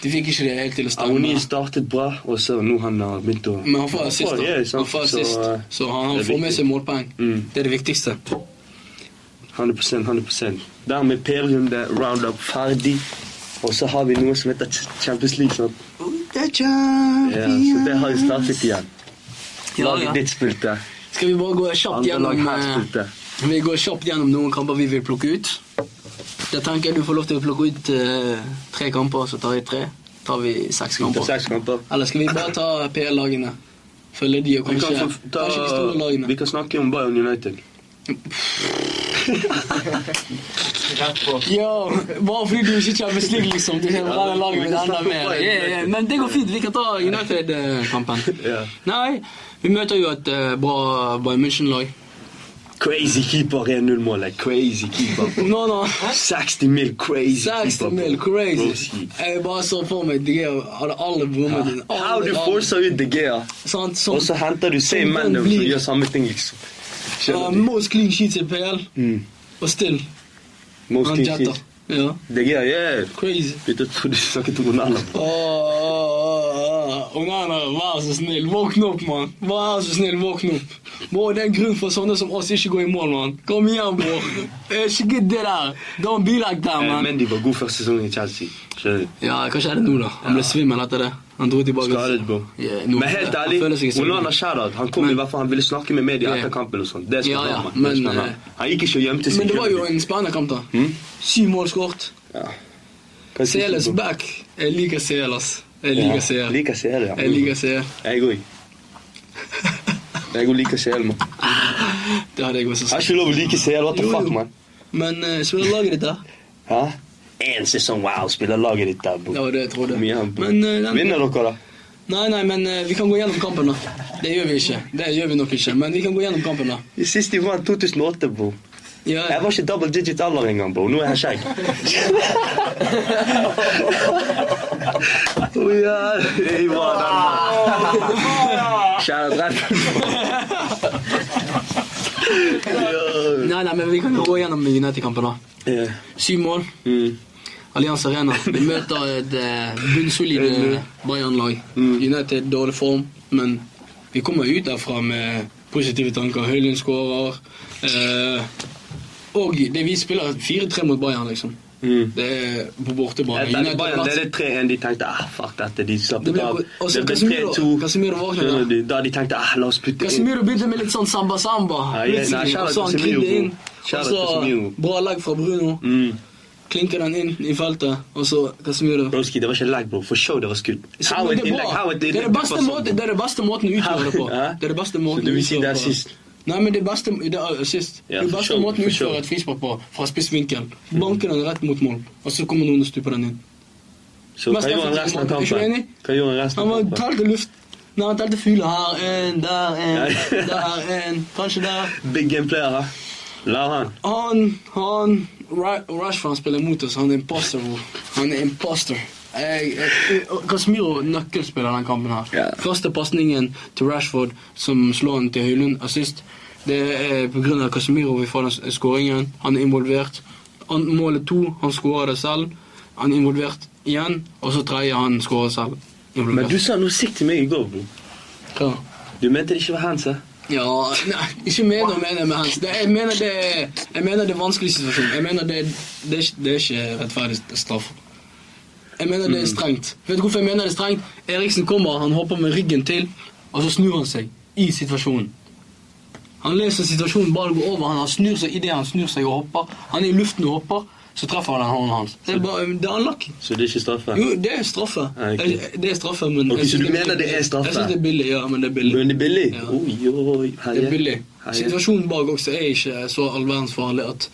[SPEAKER 2] De fikk ikke det helt til å
[SPEAKER 1] Avoni
[SPEAKER 2] stemme.
[SPEAKER 1] startet bra, og så nå han har begynt å
[SPEAKER 2] Men han får assist, da.
[SPEAKER 1] ja,
[SPEAKER 2] Han
[SPEAKER 1] sant?
[SPEAKER 2] får
[SPEAKER 1] Så,
[SPEAKER 2] assist,
[SPEAKER 1] eh,
[SPEAKER 2] så han, han
[SPEAKER 1] det er
[SPEAKER 2] får med
[SPEAKER 1] viktig.
[SPEAKER 2] seg målpoeng.
[SPEAKER 1] Mm.
[SPEAKER 2] Det er det viktigste.
[SPEAKER 1] 100 100 Dermed P-runde, roundup ferdig. Og så har vi noe som heter Ch- Champions League. Sant? Ja, så det har jo startet igjen.
[SPEAKER 2] Ja,
[SPEAKER 1] Laget
[SPEAKER 2] ja.
[SPEAKER 1] ditt spilte,
[SPEAKER 2] Skal vi bare gå kjapt
[SPEAKER 1] andre lag
[SPEAKER 2] gjennom
[SPEAKER 1] her
[SPEAKER 2] eh,
[SPEAKER 1] spilte.
[SPEAKER 2] Vi går kjapt gjennom noen kamper vi vil plukke ut. Da tenker jeg du får lov til å plukke ut eh, tre kamper, så tar jeg tre. Tar vi seks
[SPEAKER 1] Det er
[SPEAKER 2] kamper.
[SPEAKER 1] seks kamper.
[SPEAKER 2] Eller skal vi bare ta PL-lagene? Følge de og
[SPEAKER 1] Vi
[SPEAKER 2] kanskje,
[SPEAKER 1] kan, få ta,
[SPEAKER 2] kanskje de store
[SPEAKER 1] vi
[SPEAKER 2] lagene.
[SPEAKER 1] kan snakke om Bayern United.
[SPEAKER 3] Rett på.
[SPEAKER 2] Yo, bare fordi du ikke kjenner slik, liksom. Du
[SPEAKER 1] Ja,
[SPEAKER 2] kjenner laget
[SPEAKER 1] vi
[SPEAKER 2] mitt
[SPEAKER 1] kan
[SPEAKER 2] enda
[SPEAKER 1] snakke om
[SPEAKER 2] mer.
[SPEAKER 1] Bayern
[SPEAKER 2] Yeah, yeah.
[SPEAKER 1] United.
[SPEAKER 2] Men det går fint. Vi kan ta United-kampen.
[SPEAKER 1] Ja.
[SPEAKER 2] Nei, vi møter jo et eh, bra Bayern München-lag.
[SPEAKER 1] Crazy keeper 1-0-målet. Crazy keeper. bro.
[SPEAKER 2] Nå, nå.
[SPEAKER 1] 60 mil, crazy keeper.
[SPEAKER 2] 60
[SPEAKER 1] bro.
[SPEAKER 2] mil, crazy.
[SPEAKER 1] Rosie.
[SPEAKER 2] Jeg bare så for meg De Gea hadde alle bommet. den, alle-
[SPEAKER 1] How du
[SPEAKER 2] alle-
[SPEAKER 1] forser ut De Gea,
[SPEAKER 2] Sant, sånn.
[SPEAKER 1] og så henter du same
[SPEAKER 2] Som den
[SPEAKER 1] man som
[SPEAKER 2] blir.
[SPEAKER 1] gjør samme ting, liksom.
[SPEAKER 2] Eh,
[SPEAKER 1] Skjønner du?
[SPEAKER 2] most clean sheets i PL,
[SPEAKER 1] Mm.
[SPEAKER 2] og still
[SPEAKER 1] Most
[SPEAKER 2] han
[SPEAKER 1] clean
[SPEAKER 2] jetter.
[SPEAKER 1] sheet.
[SPEAKER 2] Ja,
[SPEAKER 1] De Gea, yeah.
[SPEAKER 2] crazy.
[SPEAKER 1] Begynte å tro du snakket om Onana.
[SPEAKER 2] Åh, åh, åh, Onana, vær så snill, våkne opp, mann. Vær så snill, våkne opp. Bro, det er en grunn for sånne som oss ikke går i mål, mann. Kom igjen, bror. Ikke gidd det der. Don't be like that,
[SPEAKER 1] Eh,
[SPEAKER 2] man.
[SPEAKER 1] Mendy var god første sesong i Chelsea. Skjønner du?
[SPEAKER 2] Ja, hva skjedde nå, da? Han ble svimmel etter det. Han dro tilbake.
[SPEAKER 1] Skadet, bro.
[SPEAKER 2] Ja, nå-
[SPEAKER 1] Men helt
[SPEAKER 2] han
[SPEAKER 1] ærlig,
[SPEAKER 2] føler seg svimmel.
[SPEAKER 1] Onana Shaddad han kom i hvert fall, han ville snakke med media e
[SPEAKER 2] Ja.
[SPEAKER 1] etter kampen. og sånt. Det skal
[SPEAKER 2] Ja, ja,
[SPEAKER 1] han ha, man. Det
[SPEAKER 2] men,
[SPEAKER 1] skal han ha.
[SPEAKER 2] eh,
[SPEAKER 1] Han gikk ikke og gjemte seg.
[SPEAKER 2] Men det var jo
[SPEAKER 1] skjønner du?
[SPEAKER 2] en spennende kamp, da.
[SPEAKER 1] Hm?
[SPEAKER 2] Syv mål skåret.
[SPEAKER 1] Ja. Hva sier du,
[SPEAKER 2] CL is
[SPEAKER 1] bro?
[SPEAKER 2] back. Jeg liker CL, ass. Jeg liker
[SPEAKER 1] Ja,
[SPEAKER 2] CL.
[SPEAKER 1] Liker CL, ja.
[SPEAKER 2] Jeg liker CL.
[SPEAKER 1] Jeg òg. Jeg òg liker CL, mann. Jeg
[SPEAKER 2] Det hadde jeg også
[SPEAKER 1] har
[SPEAKER 2] sagt.
[SPEAKER 1] ikke lov å like CL. What the
[SPEAKER 2] Jo, jo.
[SPEAKER 1] fuck, mann?
[SPEAKER 2] Men uh, spiller laget ditt, da?
[SPEAKER 1] Hæ? Én sesong, wow, spiller laget ditt der, bro.
[SPEAKER 2] Det var det jeg trodde.
[SPEAKER 1] Kom igjen, bro.
[SPEAKER 2] Men, eh, den,
[SPEAKER 1] Vinner dere, da?
[SPEAKER 2] nei, nei, men eh, vi kan gå gjennom kampen, da. Det gjør vi ikke. Det gjør vi nok ikke, men vi kan gå gjennom kampen, da.
[SPEAKER 1] Sist de vant, 2008, bro.
[SPEAKER 2] Ja.
[SPEAKER 1] Jeg var ikke double digit alder engang, bro. Nå er jeg skjegg. Å ja, jeg var den mannen. Kjære drepp.
[SPEAKER 2] Nei, nei, men vi kan jo gå gjennom United-kampen, da.
[SPEAKER 1] Ja.
[SPEAKER 2] Syv mål.
[SPEAKER 1] Mm.
[SPEAKER 2] Allianz Arena. Vi møter et eh, bunnsolid eh, Bayern-lag.
[SPEAKER 1] Mm.
[SPEAKER 2] United dårlig form, men vi kommer ut derfra med positive tanker. Høylund skårer. eh, og det vi spiller 4-3 mot Bayern, liksom.
[SPEAKER 1] Mm.
[SPEAKER 2] Det er på bortebane.
[SPEAKER 1] Etter
[SPEAKER 2] United-
[SPEAKER 1] at Bayern ledet 3-1, de tenkte ah, fuck dette, de
[SPEAKER 2] Det
[SPEAKER 1] slappet
[SPEAKER 2] ble-
[SPEAKER 1] av.
[SPEAKER 2] og så
[SPEAKER 1] Det ble
[SPEAKER 2] Casemiro-
[SPEAKER 1] 3-2.
[SPEAKER 2] Casemiro våkner,
[SPEAKER 1] Skjønner
[SPEAKER 2] da.
[SPEAKER 1] du? Da de tenkte ah, la oss putte inn.
[SPEAKER 2] Casemiro begynte med litt sånn samba-samba.
[SPEAKER 1] Ja, jeg- nei,
[SPEAKER 2] Plutselig,
[SPEAKER 1] shout
[SPEAKER 2] og
[SPEAKER 1] out
[SPEAKER 2] så han
[SPEAKER 1] Casemiro,
[SPEAKER 2] klidde inn.
[SPEAKER 1] bro. Shout
[SPEAKER 2] Og
[SPEAKER 1] out Casemiro.
[SPEAKER 2] så Bra lag fra Bruno.
[SPEAKER 1] Mm.
[SPEAKER 2] Klinker den inn i feltet, og så Casemiro.
[SPEAKER 1] Broski, det var ikke lag, bro. For show, det var skudd. How it
[SPEAKER 2] Men det, er
[SPEAKER 1] innlegg,
[SPEAKER 2] bra.
[SPEAKER 1] how it
[SPEAKER 2] det er
[SPEAKER 1] innlegg.
[SPEAKER 2] det beste måten Det er det beste måten å utøve det på.
[SPEAKER 1] Hæ?
[SPEAKER 2] Det er det beste måten
[SPEAKER 1] Så du
[SPEAKER 2] å
[SPEAKER 1] vil si
[SPEAKER 2] utøve
[SPEAKER 1] det er
[SPEAKER 2] på.
[SPEAKER 1] sist?
[SPEAKER 2] Nei, men det er beste, det er eh, sist.
[SPEAKER 1] Ja,
[SPEAKER 2] det er
[SPEAKER 1] for
[SPEAKER 2] beste
[SPEAKER 1] sure,
[SPEAKER 2] måten å
[SPEAKER 1] for sure.
[SPEAKER 2] utføre et frispark på, fra spissvinkel. Banker den rett mot mål, og så kommer noen og stuper den inn.
[SPEAKER 1] Så hva
[SPEAKER 2] Mest
[SPEAKER 1] gjorde han resten av
[SPEAKER 2] offensive måten,
[SPEAKER 1] kampen?
[SPEAKER 2] er ikke du enig?
[SPEAKER 1] Hva gjorde han resten
[SPEAKER 2] Han
[SPEAKER 1] av
[SPEAKER 2] var,
[SPEAKER 1] kampen?
[SPEAKER 2] talte luft. Nei, han telte fugler her, en, der,
[SPEAKER 1] Ja.
[SPEAKER 2] en, der, en, kanskje der.
[SPEAKER 1] Big game player, ha? La han.
[SPEAKER 2] Han, han Ra- Rashford spiller mot oss. Han er imposter. bro. Han er imposter. Jeg- jeg- og Casemiro nøkkelspiller den kampen her.
[SPEAKER 1] Ja.
[SPEAKER 2] Første pasningen til Rashford som slår han til Høylund assist, det er pga. Casemiro vi får den s- skåringen. Han er involvert. Han målet to, han skårer det selv. Han er involvert igjen, og så tredje han skårer selv.
[SPEAKER 1] Men
[SPEAKER 2] Involvert.
[SPEAKER 1] du sa noe sikt til meg i går, bro.
[SPEAKER 2] Hva?
[SPEAKER 1] Du mente det ikke var hands, hæ?
[SPEAKER 2] Ja, nei, ikke mener og mener med hans. Det, jeg, mener det, er- jeg mener det er vanskelig situasjon. Jeg mener det, er- det, er, ikke- det er ikke rettferdig straff. Jeg mener det er
[SPEAKER 1] Mm.
[SPEAKER 2] strengt. Vet du hvorfor jeg mener det er strengt? Eriksen kommer, han hopper med ryggen til, og så snur han seg i situasjonen. Han leser situasjonen, ballen går over, han- han snur seg idet han snur seg og hopper. Han er i luften og hopper, så treffer han hånden hans. Det er, bare, det er unlucky.
[SPEAKER 1] Så det er ikke straffe?
[SPEAKER 2] Jo, det er straffe.
[SPEAKER 1] Ja, ok.
[SPEAKER 2] Jeg- Det er straffe, men
[SPEAKER 1] Ok,
[SPEAKER 2] jeg
[SPEAKER 1] så du
[SPEAKER 2] synes er
[SPEAKER 1] mener det
[SPEAKER 2] billig.
[SPEAKER 1] er straffe?
[SPEAKER 2] Jeg synes det er billig, ja, men det er billig.
[SPEAKER 1] Men det er billig?
[SPEAKER 2] Ja.
[SPEAKER 1] Oi, oi, herre.
[SPEAKER 2] Det er billig.
[SPEAKER 1] Herre.
[SPEAKER 2] Situasjonen bak også er ikke så allverdensfarlig at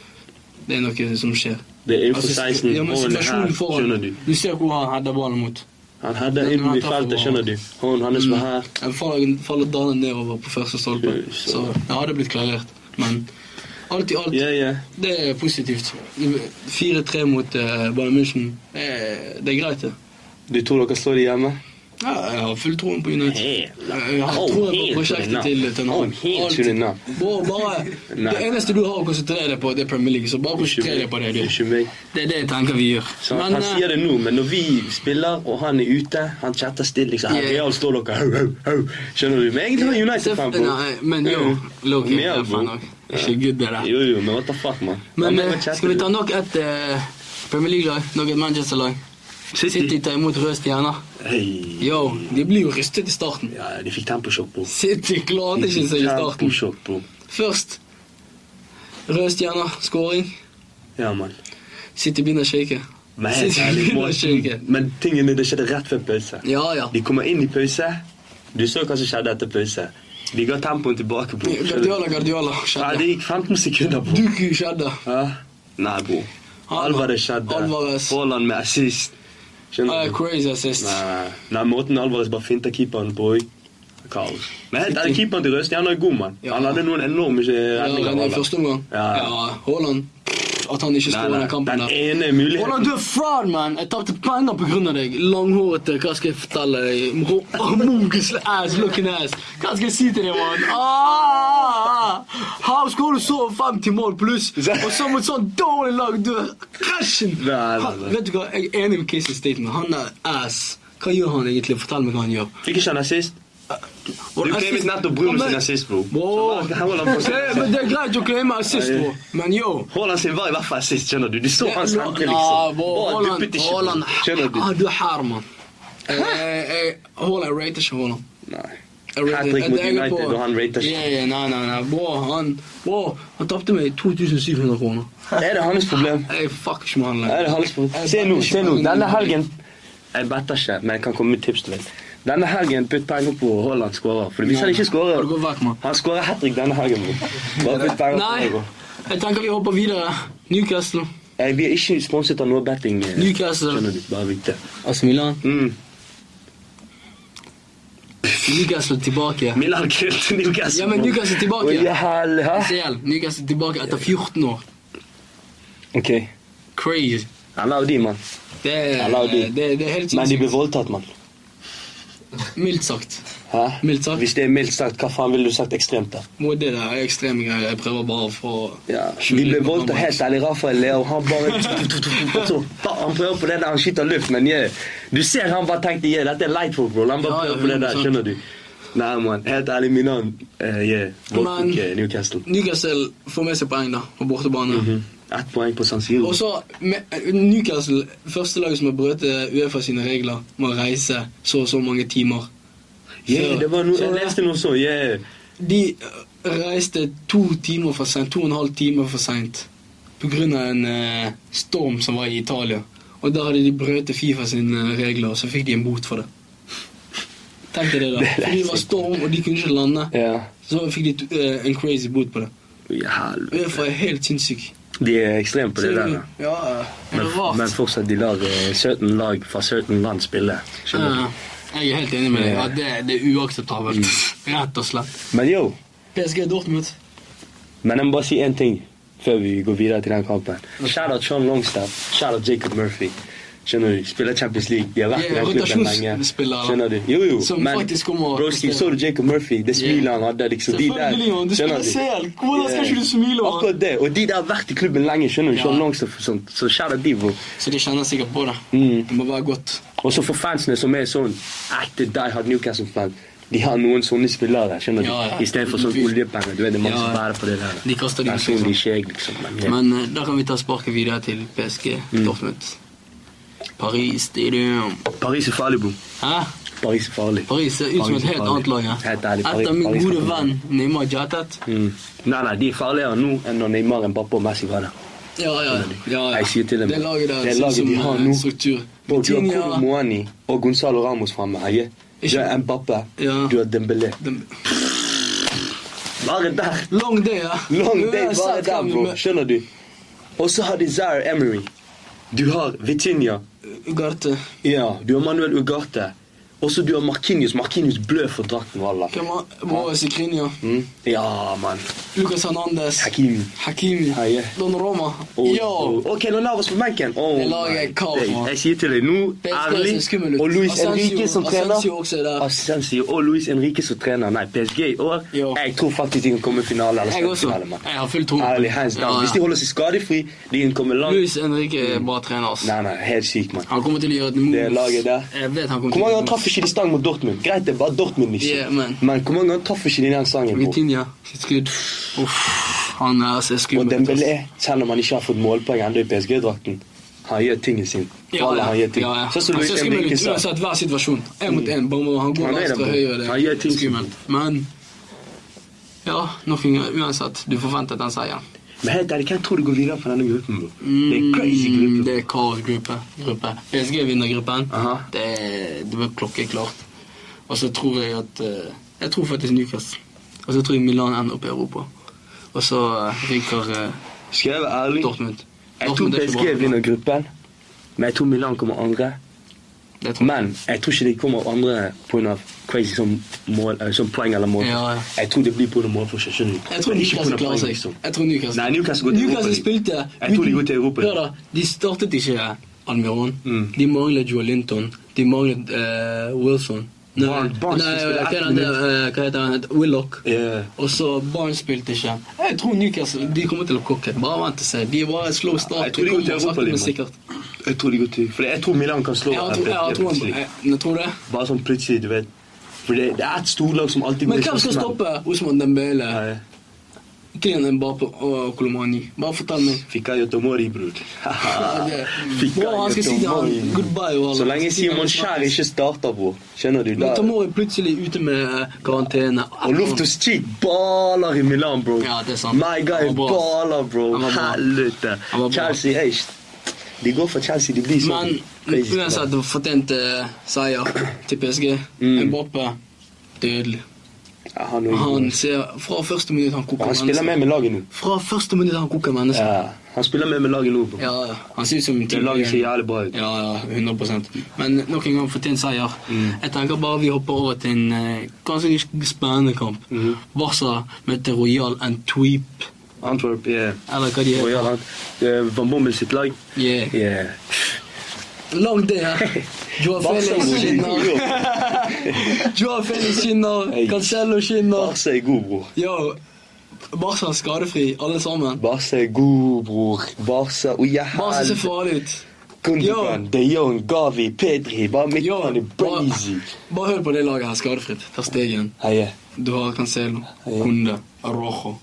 [SPEAKER 2] det er noe som skjer.
[SPEAKER 1] Det er innenfor
[SPEAKER 2] Altså,
[SPEAKER 1] 16
[SPEAKER 2] ja, men
[SPEAKER 1] og en her,
[SPEAKER 2] situasjonen foran-
[SPEAKER 1] skjønner du.
[SPEAKER 2] Du ser hvor han header ballen mot.
[SPEAKER 1] Han hadde
[SPEAKER 2] Den
[SPEAKER 1] inn
[SPEAKER 2] har
[SPEAKER 1] i
[SPEAKER 2] tatt
[SPEAKER 1] feltet,
[SPEAKER 2] over. Mm.
[SPEAKER 1] skjønner du. Hånden hans var her.
[SPEAKER 2] Den faller, faller Dale nedover på første stolpe.
[SPEAKER 1] Fy søren.
[SPEAKER 2] Så det hadde blitt klarert. Men alt i alt,
[SPEAKER 1] Ja, ja.
[SPEAKER 2] det er positivt. 4-3 mot eh, Bayern München, det er, det er greit, det.
[SPEAKER 1] Du tror dere slår de hjemme?
[SPEAKER 2] Ja, jeg har full troen på United. Jeg har
[SPEAKER 1] Oh,
[SPEAKER 2] troen på
[SPEAKER 1] helt
[SPEAKER 2] prosjektet
[SPEAKER 1] unna.
[SPEAKER 2] til Ten
[SPEAKER 1] Oh,
[SPEAKER 2] Hag.
[SPEAKER 1] helt
[SPEAKER 2] Alt.
[SPEAKER 1] unna.
[SPEAKER 2] Bro, bare,
[SPEAKER 1] Nei.
[SPEAKER 2] det eneste du har å konsentrere deg på, det er Premier League. Så bare konsentrer deg på det, du.
[SPEAKER 1] Ikke meg.
[SPEAKER 2] Det er det jeg tenker vi gjør.
[SPEAKER 1] Så han, han
[SPEAKER 2] eh,
[SPEAKER 1] sier det nå, men når vi spiller og han er ute Han chatter stille. liksom, her,
[SPEAKER 2] Ja.
[SPEAKER 1] Real står dere hau, hau, hau. Skjønner du? Men egentlig var United-fan.
[SPEAKER 2] Seff-
[SPEAKER 1] bro.
[SPEAKER 2] Nei, men jo,
[SPEAKER 1] Ja.
[SPEAKER 2] Loki
[SPEAKER 1] Mer,
[SPEAKER 2] er
[SPEAKER 1] bro.
[SPEAKER 2] fan òg. Ikke good, det der.
[SPEAKER 1] Jo, jo, men what the fuck, man.
[SPEAKER 2] Men
[SPEAKER 1] Ja,
[SPEAKER 2] eh,
[SPEAKER 1] hva chatter
[SPEAKER 2] skal vi
[SPEAKER 1] du?
[SPEAKER 2] ta nok et eh, Premier League-lag? Nok et Manchester-lag?
[SPEAKER 1] City.
[SPEAKER 2] City tar imot røde stjerner.
[SPEAKER 1] Hei.
[SPEAKER 2] Yo, de blir jo rystet i starten.
[SPEAKER 1] Ja, de fikk temposjokk, bro.
[SPEAKER 2] City klarte
[SPEAKER 1] De
[SPEAKER 2] ikke
[SPEAKER 1] fikk
[SPEAKER 2] seg i starten.
[SPEAKER 1] Temposjokk, bro.
[SPEAKER 2] Først røde stjerner, scoring.
[SPEAKER 1] Ja, man.
[SPEAKER 2] City begynner å shake.
[SPEAKER 1] Men, helt
[SPEAKER 2] City
[SPEAKER 1] ærlig,
[SPEAKER 2] begynner å shake.
[SPEAKER 1] Morten, men tingene det skjedde rett før pause.
[SPEAKER 2] Ja, ja.
[SPEAKER 1] De kommer inn i pause. Du så hva som skjedde etter pause. De ga tempoen tilbake, bro. Skjønner du?
[SPEAKER 2] Guardiola, Guardiola.
[SPEAKER 1] Ja,
[SPEAKER 2] Skjedde.
[SPEAKER 1] det gikk 15 sekunder, bro.
[SPEAKER 2] Duku skjedde.
[SPEAKER 1] Hæ? Nei, bro.
[SPEAKER 2] Alva-
[SPEAKER 1] Alvarez skjedde.
[SPEAKER 2] Alvarez.
[SPEAKER 1] Haaland med assist.
[SPEAKER 2] Eh,
[SPEAKER 1] Skjønner du?
[SPEAKER 2] crazy assist.
[SPEAKER 1] Nei, nei, måten Alvarez bare finter keeperen på òg. Kaos. Men helt ærlig, keeperen til Røsten han er god, mann.
[SPEAKER 2] Ja.
[SPEAKER 1] Han hadde noen enorme eh,
[SPEAKER 2] Ja,
[SPEAKER 1] redninger.
[SPEAKER 2] men i
[SPEAKER 1] Haaland.
[SPEAKER 2] første omgang.
[SPEAKER 1] Ja.
[SPEAKER 2] Ja, Haaland. At han ikke
[SPEAKER 1] Nei,
[SPEAKER 2] skårer
[SPEAKER 1] nei,
[SPEAKER 2] den kampen
[SPEAKER 1] den
[SPEAKER 2] der.
[SPEAKER 1] ene
[SPEAKER 2] Haaland,
[SPEAKER 1] muligheten
[SPEAKER 2] du er fraud, man! Jeg tapte penger på grunn av deg. Langhårete, hva skal jeg fortelle deg? Ro- Homungus ass, looking ass. Hva skal jeg si til deg, mann? Ah! Her skårer du så 50 mål pluss, og så mot sånn dårlig lag, du er krasjen!
[SPEAKER 1] Nei, nei, nei.
[SPEAKER 2] Han- Vet du hva, jeg er enig med Casey Staten. Han er ass. Hva gjør han egentlig? Fortell meg hva han gjør.
[SPEAKER 1] Fikk ikke han assist? Du claimet nettopp Bruno sin assist, bro.
[SPEAKER 2] Bro.
[SPEAKER 1] Så hva- Haaland får
[SPEAKER 2] Det, men det er greit å claime assist, bro. Men yo
[SPEAKER 1] Haaland sin var i hvert fall assist, skjønner du. Du så hans
[SPEAKER 2] Ja,
[SPEAKER 1] tanke,
[SPEAKER 2] ja,
[SPEAKER 1] liksom.
[SPEAKER 2] bro,
[SPEAKER 1] Bare
[SPEAKER 2] Haaland-
[SPEAKER 1] duppet ikke,
[SPEAKER 2] Haaland-
[SPEAKER 1] bro. Skjønner du?
[SPEAKER 2] Ah, du er her, mann. Eh, eh, Haaland jeg rater ikke Haaland.
[SPEAKER 1] Nei.
[SPEAKER 2] Jeg rater-
[SPEAKER 1] Hat-trick
[SPEAKER 2] jeg
[SPEAKER 1] mot
[SPEAKER 2] tenker
[SPEAKER 1] United,
[SPEAKER 2] på-
[SPEAKER 1] og han rater ikke.
[SPEAKER 2] Ja, ja, nei, nei, nei. Bro, han, bro, han tapte meg 2700 kroner.
[SPEAKER 1] Er det hans problem?
[SPEAKER 2] Jeg fuck ikke med han
[SPEAKER 1] Er det
[SPEAKER 2] lenger.
[SPEAKER 1] halsbånd? Se nå, se nå. Denne helgen Jeg better ikke, men jeg kan komme med tips til deg. Denne helgen putt penger på Haaland skårer. For hvis
[SPEAKER 2] Nei,
[SPEAKER 1] han ikke
[SPEAKER 2] nei.
[SPEAKER 1] skårer
[SPEAKER 2] Du går vekk, mann.
[SPEAKER 1] Han skårer hat trick denne helgen. bro. Bare putt penger på
[SPEAKER 2] Nei,
[SPEAKER 1] det. bro.
[SPEAKER 2] jeg tenker vi hopper videre. Newcastle.
[SPEAKER 1] Eh, Vi er ikke sponset av noe betting. eh,
[SPEAKER 2] Newcastle.
[SPEAKER 1] Mm. Skjønner du? Bare vite.
[SPEAKER 2] Altså Milan.
[SPEAKER 1] Mm.
[SPEAKER 2] Newcastle tilbake.
[SPEAKER 1] Milan Kjell til Newcastle.
[SPEAKER 2] Ja, men Newcastle er tilbake.
[SPEAKER 1] Å, jævlig, hæ?
[SPEAKER 2] CL. Newcastle tilbake etter 14 år.
[SPEAKER 1] Ok.
[SPEAKER 2] Crazy.
[SPEAKER 1] Han er jo de, mann.
[SPEAKER 2] Det er,
[SPEAKER 1] Ja, la de.
[SPEAKER 2] det, det er helt
[SPEAKER 1] Men de
[SPEAKER 2] sinnssykt.
[SPEAKER 1] ble voldtatt, mann.
[SPEAKER 2] Mildt sagt.
[SPEAKER 1] Hæ?
[SPEAKER 2] Mildt sagt.
[SPEAKER 1] Hvis det er mildt sagt, hva faen ville du sagt ekstremt, da?
[SPEAKER 2] Må det der er ekstreme greier. Jeg prøver bare å få
[SPEAKER 1] Ja, vi ble voldtatt helt ærlig. Rafael Leo, han bare Så, ba, Han prøver på det der, han skyter luft, men yeah. du ser han bare tenkte yeah, dette er light football. Han bare
[SPEAKER 2] Ja, ja,
[SPEAKER 1] prøver på det der,
[SPEAKER 2] 100%.
[SPEAKER 1] skjønner du? Nei, mann. Helt ærlig, min navn uh, yeah.
[SPEAKER 2] Men-
[SPEAKER 1] Voldtok eh, Newcastle.
[SPEAKER 2] Newcastle får med seg poeng da, på bortebane.
[SPEAKER 1] Mhm. Ett poeng på San Siro.
[SPEAKER 2] Og så med- Newcastle, første laget som har brutt eh, Uefa sine regler, må reise så og så mange timer.
[SPEAKER 1] Yeah, det var noe,
[SPEAKER 2] Så
[SPEAKER 1] jeg
[SPEAKER 2] det-
[SPEAKER 1] leste noe så, yeah.
[SPEAKER 2] De eh, reiste to timer for sent, to og en halv time for sent på grunn av en eh, storm som var i Italia. Og da hadde de brøt Fifa sine eh, regler, og så fikk de en bot for det. Tenk deg det, da.
[SPEAKER 1] Det er
[SPEAKER 2] Fordi det var
[SPEAKER 1] sykt.
[SPEAKER 2] storm, og de kunne ikke lande.
[SPEAKER 1] Ja.
[SPEAKER 2] Så fikk de t- eh, en crazy bot på det.
[SPEAKER 1] Ja, helvete.
[SPEAKER 2] Uefa er helt sinnssyk.
[SPEAKER 1] De er ekstreme på det
[SPEAKER 2] Så-
[SPEAKER 1] der. da.
[SPEAKER 2] Ja, det
[SPEAKER 1] Men,
[SPEAKER 2] er rart.
[SPEAKER 1] men fortsatt, de lar eh, 17 lag fra 17 land spille. Skjønner du?
[SPEAKER 2] Ja, Jeg er helt enig med deg.
[SPEAKER 1] Ja. Mm.
[SPEAKER 2] at det, det er uakseptabelt. Rett og slett.
[SPEAKER 1] Men yo,
[SPEAKER 2] PSG Dortmund.
[SPEAKER 1] Men jeg må bare si én ting før vi går videre til den kampen. Shout-out Sean Longstaff. Shout-out Jacob Murphy. Skjønner du? Spiller Champions League. De har vært i
[SPEAKER 2] Ja,
[SPEAKER 1] den klubben lenge.
[SPEAKER 2] rotasjonsspillere.
[SPEAKER 1] Skjønner du? Jo, jo.
[SPEAKER 2] Som faktisk kommer å
[SPEAKER 1] bro, Steve, så du Jacob Murphy? Det smilet
[SPEAKER 2] Ja.
[SPEAKER 1] han hadde. liksom, de der.
[SPEAKER 2] Selvfølgelig, man. Du
[SPEAKER 1] Skjønner
[SPEAKER 2] spiller selv. Hvordan skal
[SPEAKER 1] Yeah.
[SPEAKER 2] ikke du smile? Man?
[SPEAKER 1] Akkurat det. Og de der har vært i klubben lenge. skjønner du?
[SPEAKER 2] Ja.
[SPEAKER 1] Sean Longstaff og sånt. Så shout-out de, bro.
[SPEAKER 2] Så de kjenner sikkert på det.
[SPEAKER 1] Mm.
[SPEAKER 2] Det må være godt.
[SPEAKER 1] Og så for fansene som er sånn ekte Die Hard Newcastle-fan. De har noen sånne spillere, skjønner du?
[SPEAKER 2] Ja, ja.
[SPEAKER 1] Istedenfor sånn oljepenger. Du vet, det er mange
[SPEAKER 2] Ja,
[SPEAKER 1] som
[SPEAKER 2] ja.
[SPEAKER 1] bærer på det der.
[SPEAKER 2] De kaster de ut,
[SPEAKER 1] Personlig skjegg, liksom. Men, yeah.
[SPEAKER 2] Men eh, da kan vi ta sparket videre til PSG
[SPEAKER 1] Mm.
[SPEAKER 2] Dortmund. Paris Stadium.
[SPEAKER 1] Paris er farlig, bro.
[SPEAKER 2] Hæ?
[SPEAKER 1] Paris er farlig.
[SPEAKER 2] Paris ser ut som
[SPEAKER 1] Paris
[SPEAKER 2] et
[SPEAKER 1] er
[SPEAKER 2] helt
[SPEAKER 1] farlig.
[SPEAKER 2] annet lag. ja.
[SPEAKER 1] Helt ærlig, Paris-
[SPEAKER 2] Etter min
[SPEAKER 1] Paris er
[SPEAKER 2] gode
[SPEAKER 1] farlig.
[SPEAKER 2] venn Neymar Jatet.
[SPEAKER 1] Mm. Nei, nei, de er farligere nå enn når Neymar, Mbappé og Messi var der.
[SPEAKER 2] Ja, ja, ja, ja.
[SPEAKER 1] Jeg sier til dem,
[SPEAKER 2] det laget der
[SPEAKER 1] det
[SPEAKER 2] ser ut
[SPEAKER 1] laget
[SPEAKER 2] som
[SPEAKER 1] de har
[SPEAKER 2] en
[SPEAKER 1] nå.
[SPEAKER 2] struktur.
[SPEAKER 1] Bro, du har
[SPEAKER 2] Coutinho-
[SPEAKER 1] Kolo Moani og Oh, Gonzalo Ramos framme. Eie. Du har
[SPEAKER 2] Ikke-
[SPEAKER 1] Mbappé,
[SPEAKER 2] Ja.
[SPEAKER 1] du har Dembélé.
[SPEAKER 2] Dem-
[SPEAKER 1] Bare der!
[SPEAKER 2] Long day, ja.
[SPEAKER 1] Long day bare
[SPEAKER 2] Uansett
[SPEAKER 1] der,
[SPEAKER 2] hvem-
[SPEAKER 1] bro. Skjønner du? Og så har de Zaire Emery. Du har Vitinha.
[SPEAKER 2] Ugarte.
[SPEAKER 1] Ja, du har Manuel Ugarte. Og så du har Markinius. Markinius blør for drakten, wallah.
[SPEAKER 2] Hvem var Moa Sikrinio?
[SPEAKER 1] Mm? Ja, mann.
[SPEAKER 2] Lucas Hernandez.
[SPEAKER 1] Hakimi.
[SPEAKER 2] Hakimi.
[SPEAKER 1] Ah, ja.
[SPEAKER 2] Don Roma.
[SPEAKER 1] Og-
[SPEAKER 2] Yo!
[SPEAKER 1] og- Ok, nå lar vi oss på benken. Oh,
[SPEAKER 2] Det laget er
[SPEAKER 1] my
[SPEAKER 2] kaos,
[SPEAKER 1] days.
[SPEAKER 2] mann.
[SPEAKER 1] Jeg sier til deg nå,
[SPEAKER 2] Det ser skummel
[SPEAKER 1] ærlig
[SPEAKER 2] ut.
[SPEAKER 1] Og Luis
[SPEAKER 2] Asensio-
[SPEAKER 1] Enrique som trener.
[SPEAKER 2] Asensio også er der.
[SPEAKER 1] Asensio og Luis Enrique som trener. Nei, PSG i år.
[SPEAKER 2] Jo.
[SPEAKER 1] Jeg tror faktisk de kan komme i finale. Eller
[SPEAKER 2] Jeg også.
[SPEAKER 1] semifinale, mann.
[SPEAKER 2] Jeg har full tro.
[SPEAKER 1] Ærlig, hands down.
[SPEAKER 2] Ja, ja.
[SPEAKER 1] Hvis de holder seg skadefri, de kan komme langt.
[SPEAKER 2] Luis Henrique er bra trener, ass.
[SPEAKER 1] Nei, nei, helt sykt, mann.
[SPEAKER 2] Han kommer til å gjøre et move.
[SPEAKER 1] Det laget der.
[SPEAKER 2] Jeg vet han kommer
[SPEAKER 1] Hvor mange ganger
[SPEAKER 2] til å
[SPEAKER 1] traff ikke de stang mot Dortmund? Greit, det er bare Dortmund, liksom.
[SPEAKER 2] Yeah, man.
[SPEAKER 1] Men hvor mange ganger traff ikke de den stangen? bro?
[SPEAKER 2] Vitinha. Sitt skudd. Uff. Han er ser
[SPEAKER 1] Og
[SPEAKER 2] skummel ut. ass.
[SPEAKER 1] Dembélé, selv om han ikke har fått målpoeng ennå i PSG-drakten, han gjør tingen sin.
[SPEAKER 2] Ja,
[SPEAKER 1] Wallah,
[SPEAKER 2] ja.
[SPEAKER 1] han gjør ting.
[SPEAKER 2] ja, ja.
[SPEAKER 1] Sånn som
[SPEAKER 2] Han
[SPEAKER 1] Luis
[SPEAKER 2] ser skummel
[SPEAKER 1] Enrique
[SPEAKER 2] ut
[SPEAKER 1] sa.
[SPEAKER 2] uansett hver situasjon. Én mot én. Bare må- Han går
[SPEAKER 1] Han er
[SPEAKER 2] venstre
[SPEAKER 1] det,
[SPEAKER 2] og
[SPEAKER 1] bro.
[SPEAKER 2] høyre. Det
[SPEAKER 1] Han gjør ting som-
[SPEAKER 2] er skummelt. Men ja, nok en gang. Uansett, du forventet den seieren.
[SPEAKER 1] Men helt ærlig, hvem tror du går videre fra denne gruppen? bro? Det er crazy gruppe.
[SPEAKER 2] Mm, Det er kaosgruppe. Gruppe. PSG vinner gruppen.
[SPEAKER 1] Aha.
[SPEAKER 2] Det, er- det var klokkeklart. Og så tror jeg at eh, Jeg tror faktisk Newcastle. Og så tror jeg Milan ender opp i Europa. Og så eh, ryker eh,
[SPEAKER 1] Skal jeg være ærlig?
[SPEAKER 2] Dortmund.
[SPEAKER 1] Jeg tror
[SPEAKER 2] Dortmund er ikke
[SPEAKER 1] PSG
[SPEAKER 2] bra.
[SPEAKER 1] vinner gruppen, men jeg tror Milan kommer andre.
[SPEAKER 2] Det tror jeg.
[SPEAKER 1] Men jeg tror ikke de kommer andre pga. crazy som, mål, eh, som poeng eller mål.
[SPEAKER 2] Ja, ja.
[SPEAKER 1] Jeg tror det blir pga. målforskjell. skjønner du?
[SPEAKER 2] Jeg tror
[SPEAKER 1] Men ikke på
[SPEAKER 2] Newcastle
[SPEAKER 1] grunn av
[SPEAKER 2] klarer
[SPEAKER 1] poeng,
[SPEAKER 2] seg.
[SPEAKER 1] liksom.
[SPEAKER 2] Jeg tror Newcastle.
[SPEAKER 1] Nei, Newcastle går til Europa
[SPEAKER 2] Newcastle
[SPEAKER 1] League.
[SPEAKER 2] spilte
[SPEAKER 1] Jeg tror de går til Europa League.
[SPEAKER 2] Hør da, de startet ikke Almiron.
[SPEAKER 1] Mm.
[SPEAKER 2] De manglet Joel Linton. De manglet eh, Wilson. Nei,
[SPEAKER 1] Barnes- Barnes
[SPEAKER 2] nei,
[SPEAKER 1] spilte
[SPEAKER 2] hva
[SPEAKER 1] ett
[SPEAKER 2] heter han der, eh, hva heter han? Willoch.
[SPEAKER 1] Ja.
[SPEAKER 2] Og så Barnes spilte ikke. Jeg tror Newcastle de kommer til å kokke. Bare vent og se. De var et slow start.
[SPEAKER 1] Jeg tror de går til
[SPEAKER 2] kommer sakte,
[SPEAKER 1] Europa League,
[SPEAKER 2] men sikkert.
[SPEAKER 1] Jeg tror de går til For jeg tror Milan kan slå
[SPEAKER 2] Jeg har tro- jeg har
[SPEAKER 1] PSG
[SPEAKER 2] troen på
[SPEAKER 1] plutselig.
[SPEAKER 2] jeg- jeg tror det.
[SPEAKER 1] Bare sånn plutselig, du vet. For det, det er et storlag som alltid går
[SPEAKER 2] Men hvem
[SPEAKER 1] i
[SPEAKER 2] skal
[SPEAKER 1] førstemann.
[SPEAKER 2] stoppe Osman Dembele,
[SPEAKER 1] Nei,
[SPEAKER 2] Kylian Mbappé og Kolomani? Bare fortell meg.
[SPEAKER 1] Fikk jeg Yotomori, bror. Fikk
[SPEAKER 2] Bro, han skal si til han
[SPEAKER 1] Yotomori.
[SPEAKER 2] goodbye og alle.
[SPEAKER 1] Så lenge Simon Skjær ikke starter, bror. Skjønner du?
[SPEAKER 2] Men
[SPEAKER 1] Da,
[SPEAKER 2] Tomori er plutselig ute med eh, karantene.
[SPEAKER 1] og Loftus Cheek baller i Milan, bro.
[SPEAKER 2] Ja, det er sant.
[SPEAKER 1] My guy
[SPEAKER 2] Han var bra.
[SPEAKER 1] baller, bro.
[SPEAKER 2] Han var bra.
[SPEAKER 1] Helvete.
[SPEAKER 2] Han var bra.
[SPEAKER 1] Chelsea er ikke De går for Chelsea, de blir sånn.
[SPEAKER 2] Men
[SPEAKER 1] crazy.
[SPEAKER 2] uansett fortjente eh, seier til PSG.
[SPEAKER 1] Mm.
[SPEAKER 2] Mbappé dødelig.
[SPEAKER 1] Ja, han, er-
[SPEAKER 2] Han ser Fra første minutt han
[SPEAKER 1] Og
[SPEAKER 2] koker
[SPEAKER 1] han spiller med med laget nå.
[SPEAKER 2] Fra første minutt han koker mennesker.
[SPEAKER 1] Ja, Han spiller med med laget nå. bro.
[SPEAKER 2] Ja, ja. Han ser ut som en
[SPEAKER 1] Det laget ser jævlig bra ut.
[SPEAKER 2] Ja, ja, 100 Men nok en gang fortjent seier.
[SPEAKER 1] Mm.
[SPEAKER 2] Jeg tenker bare vi hopper over til en eh, ganske spennende kamp.
[SPEAKER 1] Mhm.
[SPEAKER 2] Barca møter Royal Antwerp,
[SPEAKER 1] Antwerp yeah.
[SPEAKER 2] eller hva de
[SPEAKER 1] Og ja,
[SPEAKER 2] heter.
[SPEAKER 1] han, eh, Van Bommel sitt lag.
[SPEAKER 2] Yeah.
[SPEAKER 1] Yeah.
[SPEAKER 2] Langt det her. Joa
[SPEAKER 1] Barca
[SPEAKER 2] Felix
[SPEAKER 1] er god,
[SPEAKER 2] skinner.
[SPEAKER 1] bror.
[SPEAKER 2] Joa Felix skinner.
[SPEAKER 1] Hey.
[SPEAKER 2] Cancelo skinner.
[SPEAKER 1] Barca er god, bror.
[SPEAKER 2] Yo, Barca er skadefri, alle sammen.
[SPEAKER 1] Barca er god, bror. Barca og jeg
[SPEAKER 2] Barca ser farlig ut.
[SPEAKER 1] Gundogan,
[SPEAKER 2] Yo.
[SPEAKER 1] De Jong, Gavi, Pedri. Bare
[SPEAKER 2] Yo,
[SPEAKER 1] midtbane,
[SPEAKER 2] bare,
[SPEAKER 1] breezy.
[SPEAKER 2] bare hør på det laget her skadefritt. Ter Stegen.
[SPEAKER 1] Heie.
[SPEAKER 2] Du har Cancelo,
[SPEAKER 1] Ja.
[SPEAKER 2] Kunde, Arrojo,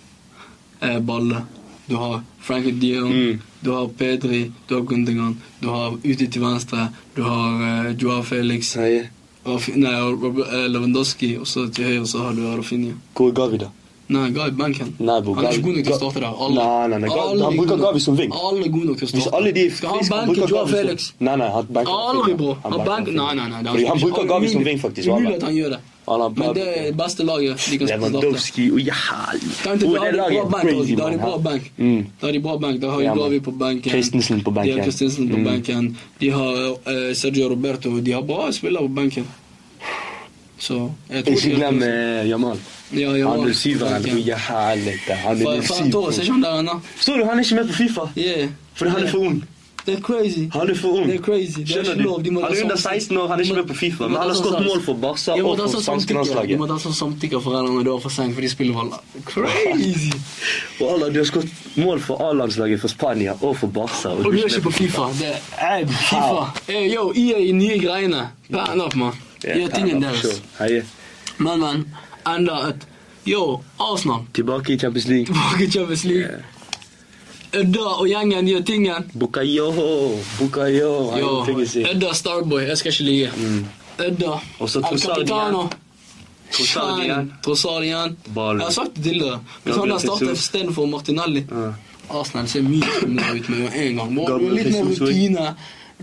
[SPEAKER 2] eh, Balle. Du har Frankie Dion,
[SPEAKER 1] Mm.
[SPEAKER 2] du har Pedri, du har Gundogan, du har ute til venstre, du har eh, Joao Felix,
[SPEAKER 1] Heie.
[SPEAKER 2] Raf- nei, Rob- eh, Lewandowski, og så til høyre så har du Rafinha.
[SPEAKER 1] Hvor er Gavi, da?
[SPEAKER 2] Nei, Guy Banken.
[SPEAKER 1] Nei, bror.
[SPEAKER 2] Han er ikke
[SPEAKER 1] Gavi-
[SPEAKER 2] god nok til å
[SPEAKER 1] Ga-
[SPEAKER 2] starte der.
[SPEAKER 1] Nei, nei, nei. Gavi-
[SPEAKER 2] alle
[SPEAKER 1] han
[SPEAKER 2] er
[SPEAKER 1] bruker
[SPEAKER 2] gode nok.
[SPEAKER 1] Gavi som ving.
[SPEAKER 2] Alle er gode nok til å starte.
[SPEAKER 1] Hvis alle de er
[SPEAKER 2] Skal
[SPEAKER 1] friske,
[SPEAKER 2] han banke Joao Felix?
[SPEAKER 1] Nei, nei, han banker
[SPEAKER 2] Aldri, bror. Han banker
[SPEAKER 1] Felix.
[SPEAKER 2] Nei, nei, nei. det er
[SPEAKER 1] Fordi han
[SPEAKER 2] ikke-
[SPEAKER 1] bruker Gavi som
[SPEAKER 2] umulig-
[SPEAKER 1] wing, faktisk. og han
[SPEAKER 2] Umulig at
[SPEAKER 1] banker.
[SPEAKER 2] han gjør det.
[SPEAKER 1] Han har
[SPEAKER 2] Men
[SPEAKER 1] bare-
[SPEAKER 2] det er det beste laget de kan starte.
[SPEAKER 1] Lewandowski og jævlig.
[SPEAKER 2] Kan ikke-
[SPEAKER 1] Bror,
[SPEAKER 2] Da har
[SPEAKER 1] det
[SPEAKER 2] de
[SPEAKER 1] laget
[SPEAKER 2] bra
[SPEAKER 1] er
[SPEAKER 2] benk.
[SPEAKER 1] crazy,
[SPEAKER 2] også. Da har de
[SPEAKER 1] mann.
[SPEAKER 2] bra benk.
[SPEAKER 1] Mm.
[SPEAKER 2] Da har de bra benk. Da har
[SPEAKER 1] Ja,
[SPEAKER 2] de
[SPEAKER 1] man.
[SPEAKER 2] Gavi på benken.
[SPEAKER 1] Christensen på benken.
[SPEAKER 2] De har Christensen på
[SPEAKER 1] Mm.
[SPEAKER 2] benken. De har eh, Sergio Roberto. De har bra spillere på benken. Så jeg tror
[SPEAKER 1] Ikke
[SPEAKER 2] de har-
[SPEAKER 1] glem eh, Jamal.
[SPEAKER 2] ja, ja,
[SPEAKER 1] Han er
[SPEAKER 2] på
[SPEAKER 1] syveren.
[SPEAKER 2] benken.
[SPEAKER 1] og jævlig, da. Han
[SPEAKER 2] For
[SPEAKER 1] er
[SPEAKER 2] faen, Torres
[SPEAKER 1] syv.
[SPEAKER 2] er ikke han der ennå.
[SPEAKER 1] Så du, han er ikke med på Fifa.
[SPEAKER 2] Yeah.
[SPEAKER 1] Fordi han er for ung.
[SPEAKER 2] Det er crazy.
[SPEAKER 1] Han er for ung.
[SPEAKER 2] Det er crazy. Det er
[SPEAKER 1] Skjønner
[SPEAKER 2] ikke
[SPEAKER 1] du?
[SPEAKER 2] lov. De må
[SPEAKER 1] Han
[SPEAKER 2] ta
[SPEAKER 1] er under
[SPEAKER 2] sam-
[SPEAKER 1] 16 år, han er ikke med på Fifa.
[SPEAKER 2] De må
[SPEAKER 1] Men
[SPEAKER 2] ta
[SPEAKER 1] han har
[SPEAKER 2] sånn
[SPEAKER 1] skåret
[SPEAKER 2] sam-
[SPEAKER 1] mål for Barca
[SPEAKER 2] De må
[SPEAKER 1] og
[SPEAKER 2] ta
[SPEAKER 1] for spanske
[SPEAKER 2] sånn samtykke. De
[SPEAKER 1] landslaget.
[SPEAKER 2] må ta sånn samtykke for foreldrene da for sent, for de spiller vel Crazy!
[SPEAKER 1] Og Allah, du har skåret mål for A-landslaget for Spania og for Barca.
[SPEAKER 2] Og du
[SPEAKER 1] er
[SPEAKER 2] er ikke på Fifa. Det er Fifa.
[SPEAKER 1] Ah.
[SPEAKER 2] Eh, yo, EA er nye greiene. Pan up, mann.
[SPEAKER 1] Ja,
[SPEAKER 2] Gjør tingen
[SPEAKER 1] ja, sure.
[SPEAKER 2] deres.
[SPEAKER 1] Heie.
[SPEAKER 2] Men, men. Enda et Yo, Arsenal.
[SPEAKER 1] Tilbake i Champions League.
[SPEAKER 2] Tilbake i Champions League. Ødda og gjengen gjør tingen.
[SPEAKER 1] Bukayo, Bukayo. Han
[SPEAKER 2] Yo,
[SPEAKER 1] gjorde tingen sin.
[SPEAKER 2] Ødda Starboy. Jeg skal ikke lyve. Ødda.
[SPEAKER 1] Mm. Og så
[SPEAKER 2] El
[SPEAKER 1] Trossard
[SPEAKER 2] Capitano.
[SPEAKER 1] igjen. Trossard igjen.
[SPEAKER 2] Fan, Trossard igjen.
[SPEAKER 1] Ballen.
[SPEAKER 2] Jeg har sagt det til dere. Hvis han
[SPEAKER 1] Gabriel
[SPEAKER 2] der starter
[SPEAKER 1] Jesus.
[SPEAKER 2] istedenfor Martinelli
[SPEAKER 1] Ja.
[SPEAKER 2] Arsenal ser mye kulere ut med en gang. Må- Du
[SPEAKER 1] Gabriel
[SPEAKER 2] har litt mer
[SPEAKER 1] Jesus også.
[SPEAKER 2] rutine.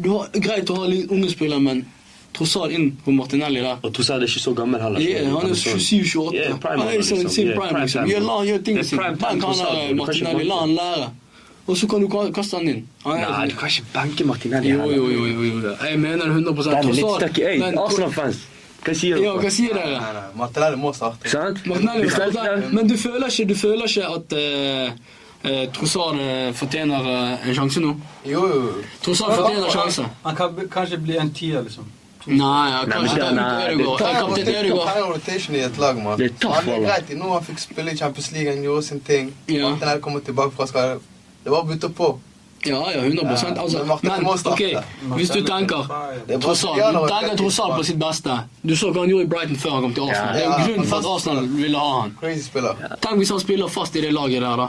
[SPEAKER 2] Du har, greit å ha litt unge spillere, men Trossard inn på Martinelli der.
[SPEAKER 1] Og Trossard er ikke så gammel heller.
[SPEAKER 2] Yeah, han er
[SPEAKER 1] sånn-
[SPEAKER 2] 27-28.
[SPEAKER 1] Yeah, prime
[SPEAKER 2] han er
[SPEAKER 1] alder,
[SPEAKER 2] liksom,
[SPEAKER 1] liksom.
[SPEAKER 2] sin
[SPEAKER 1] Yeah,
[SPEAKER 2] prime,
[SPEAKER 1] prime
[SPEAKER 2] liksom.
[SPEAKER 1] time.
[SPEAKER 2] Ja, la han gjøre
[SPEAKER 1] Det
[SPEAKER 2] tingene
[SPEAKER 1] er
[SPEAKER 2] sine.
[SPEAKER 1] prime time
[SPEAKER 2] Bank han
[SPEAKER 1] Trossard,
[SPEAKER 2] der,
[SPEAKER 1] du kan ikke
[SPEAKER 2] Martinelli. La
[SPEAKER 1] banke.
[SPEAKER 2] han lære. Og så kan du ka- kaste han inn. Han er-
[SPEAKER 1] Nei, du kan ikke banke Martinelli.
[SPEAKER 2] jo,
[SPEAKER 1] heller.
[SPEAKER 2] jo, jo, jo, jo. Jeg mener det 100
[SPEAKER 1] Den er litt
[SPEAKER 2] Trossard-
[SPEAKER 1] stuck i øyet.
[SPEAKER 2] men-
[SPEAKER 1] Arsenal-fans. Hva sier
[SPEAKER 2] Ja, hva
[SPEAKER 1] dere?
[SPEAKER 2] sier dere?
[SPEAKER 3] Nei, nei, Martinelli må starte.
[SPEAKER 1] Sant?
[SPEAKER 2] Martinelli,
[SPEAKER 1] Vi følte
[SPEAKER 2] Martinelli.
[SPEAKER 1] den.
[SPEAKER 2] Men du føler ikke, du føler ikke at eh, eh, Trossard eh, fortjener eh, en sjanse nå?
[SPEAKER 3] Jo, jo.
[SPEAKER 2] Trossard fortjener en sjanse.
[SPEAKER 4] Han kan b- kanskje bli en tier, liksom.
[SPEAKER 2] Nei, jeg
[SPEAKER 1] Nei,
[SPEAKER 2] kan
[SPEAKER 1] men
[SPEAKER 2] ikke
[SPEAKER 1] det-
[SPEAKER 2] ta
[SPEAKER 1] nei, det-
[SPEAKER 2] ut Ødegaard. Eh, Kaptein
[SPEAKER 3] Han
[SPEAKER 2] Ødegaard.
[SPEAKER 3] er rotation i et lag, mann.
[SPEAKER 1] Det er tøft,
[SPEAKER 3] Han er
[SPEAKER 1] Wallah.
[SPEAKER 3] greit i nå. Han fikk spille i Champions League, han gjorde sin ting.
[SPEAKER 2] Ja.
[SPEAKER 3] Martinelli kommer tilbake fra skade. Det var å bytte på.
[SPEAKER 2] Ja, ja, 100 altså,
[SPEAKER 3] Men Martinelli
[SPEAKER 2] Men
[SPEAKER 3] må starte.
[SPEAKER 2] ok, hvis du tenker
[SPEAKER 3] Det er
[SPEAKER 2] Trossard
[SPEAKER 3] brasilianer
[SPEAKER 2] du
[SPEAKER 3] og
[SPEAKER 2] tenker
[SPEAKER 3] atletisk,
[SPEAKER 2] Trossard på
[SPEAKER 3] mann.
[SPEAKER 2] sitt beste. Du så hva han gjorde i Brighton før han kom til
[SPEAKER 1] Ja.
[SPEAKER 2] Arsenal. Det er
[SPEAKER 3] Ja.
[SPEAKER 2] jo grunnen for at Arsenal ville ha han.
[SPEAKER 3] Crazy spiller.
[SPEAKER 2] Tenk hvis han spiller fast i det laget der, da.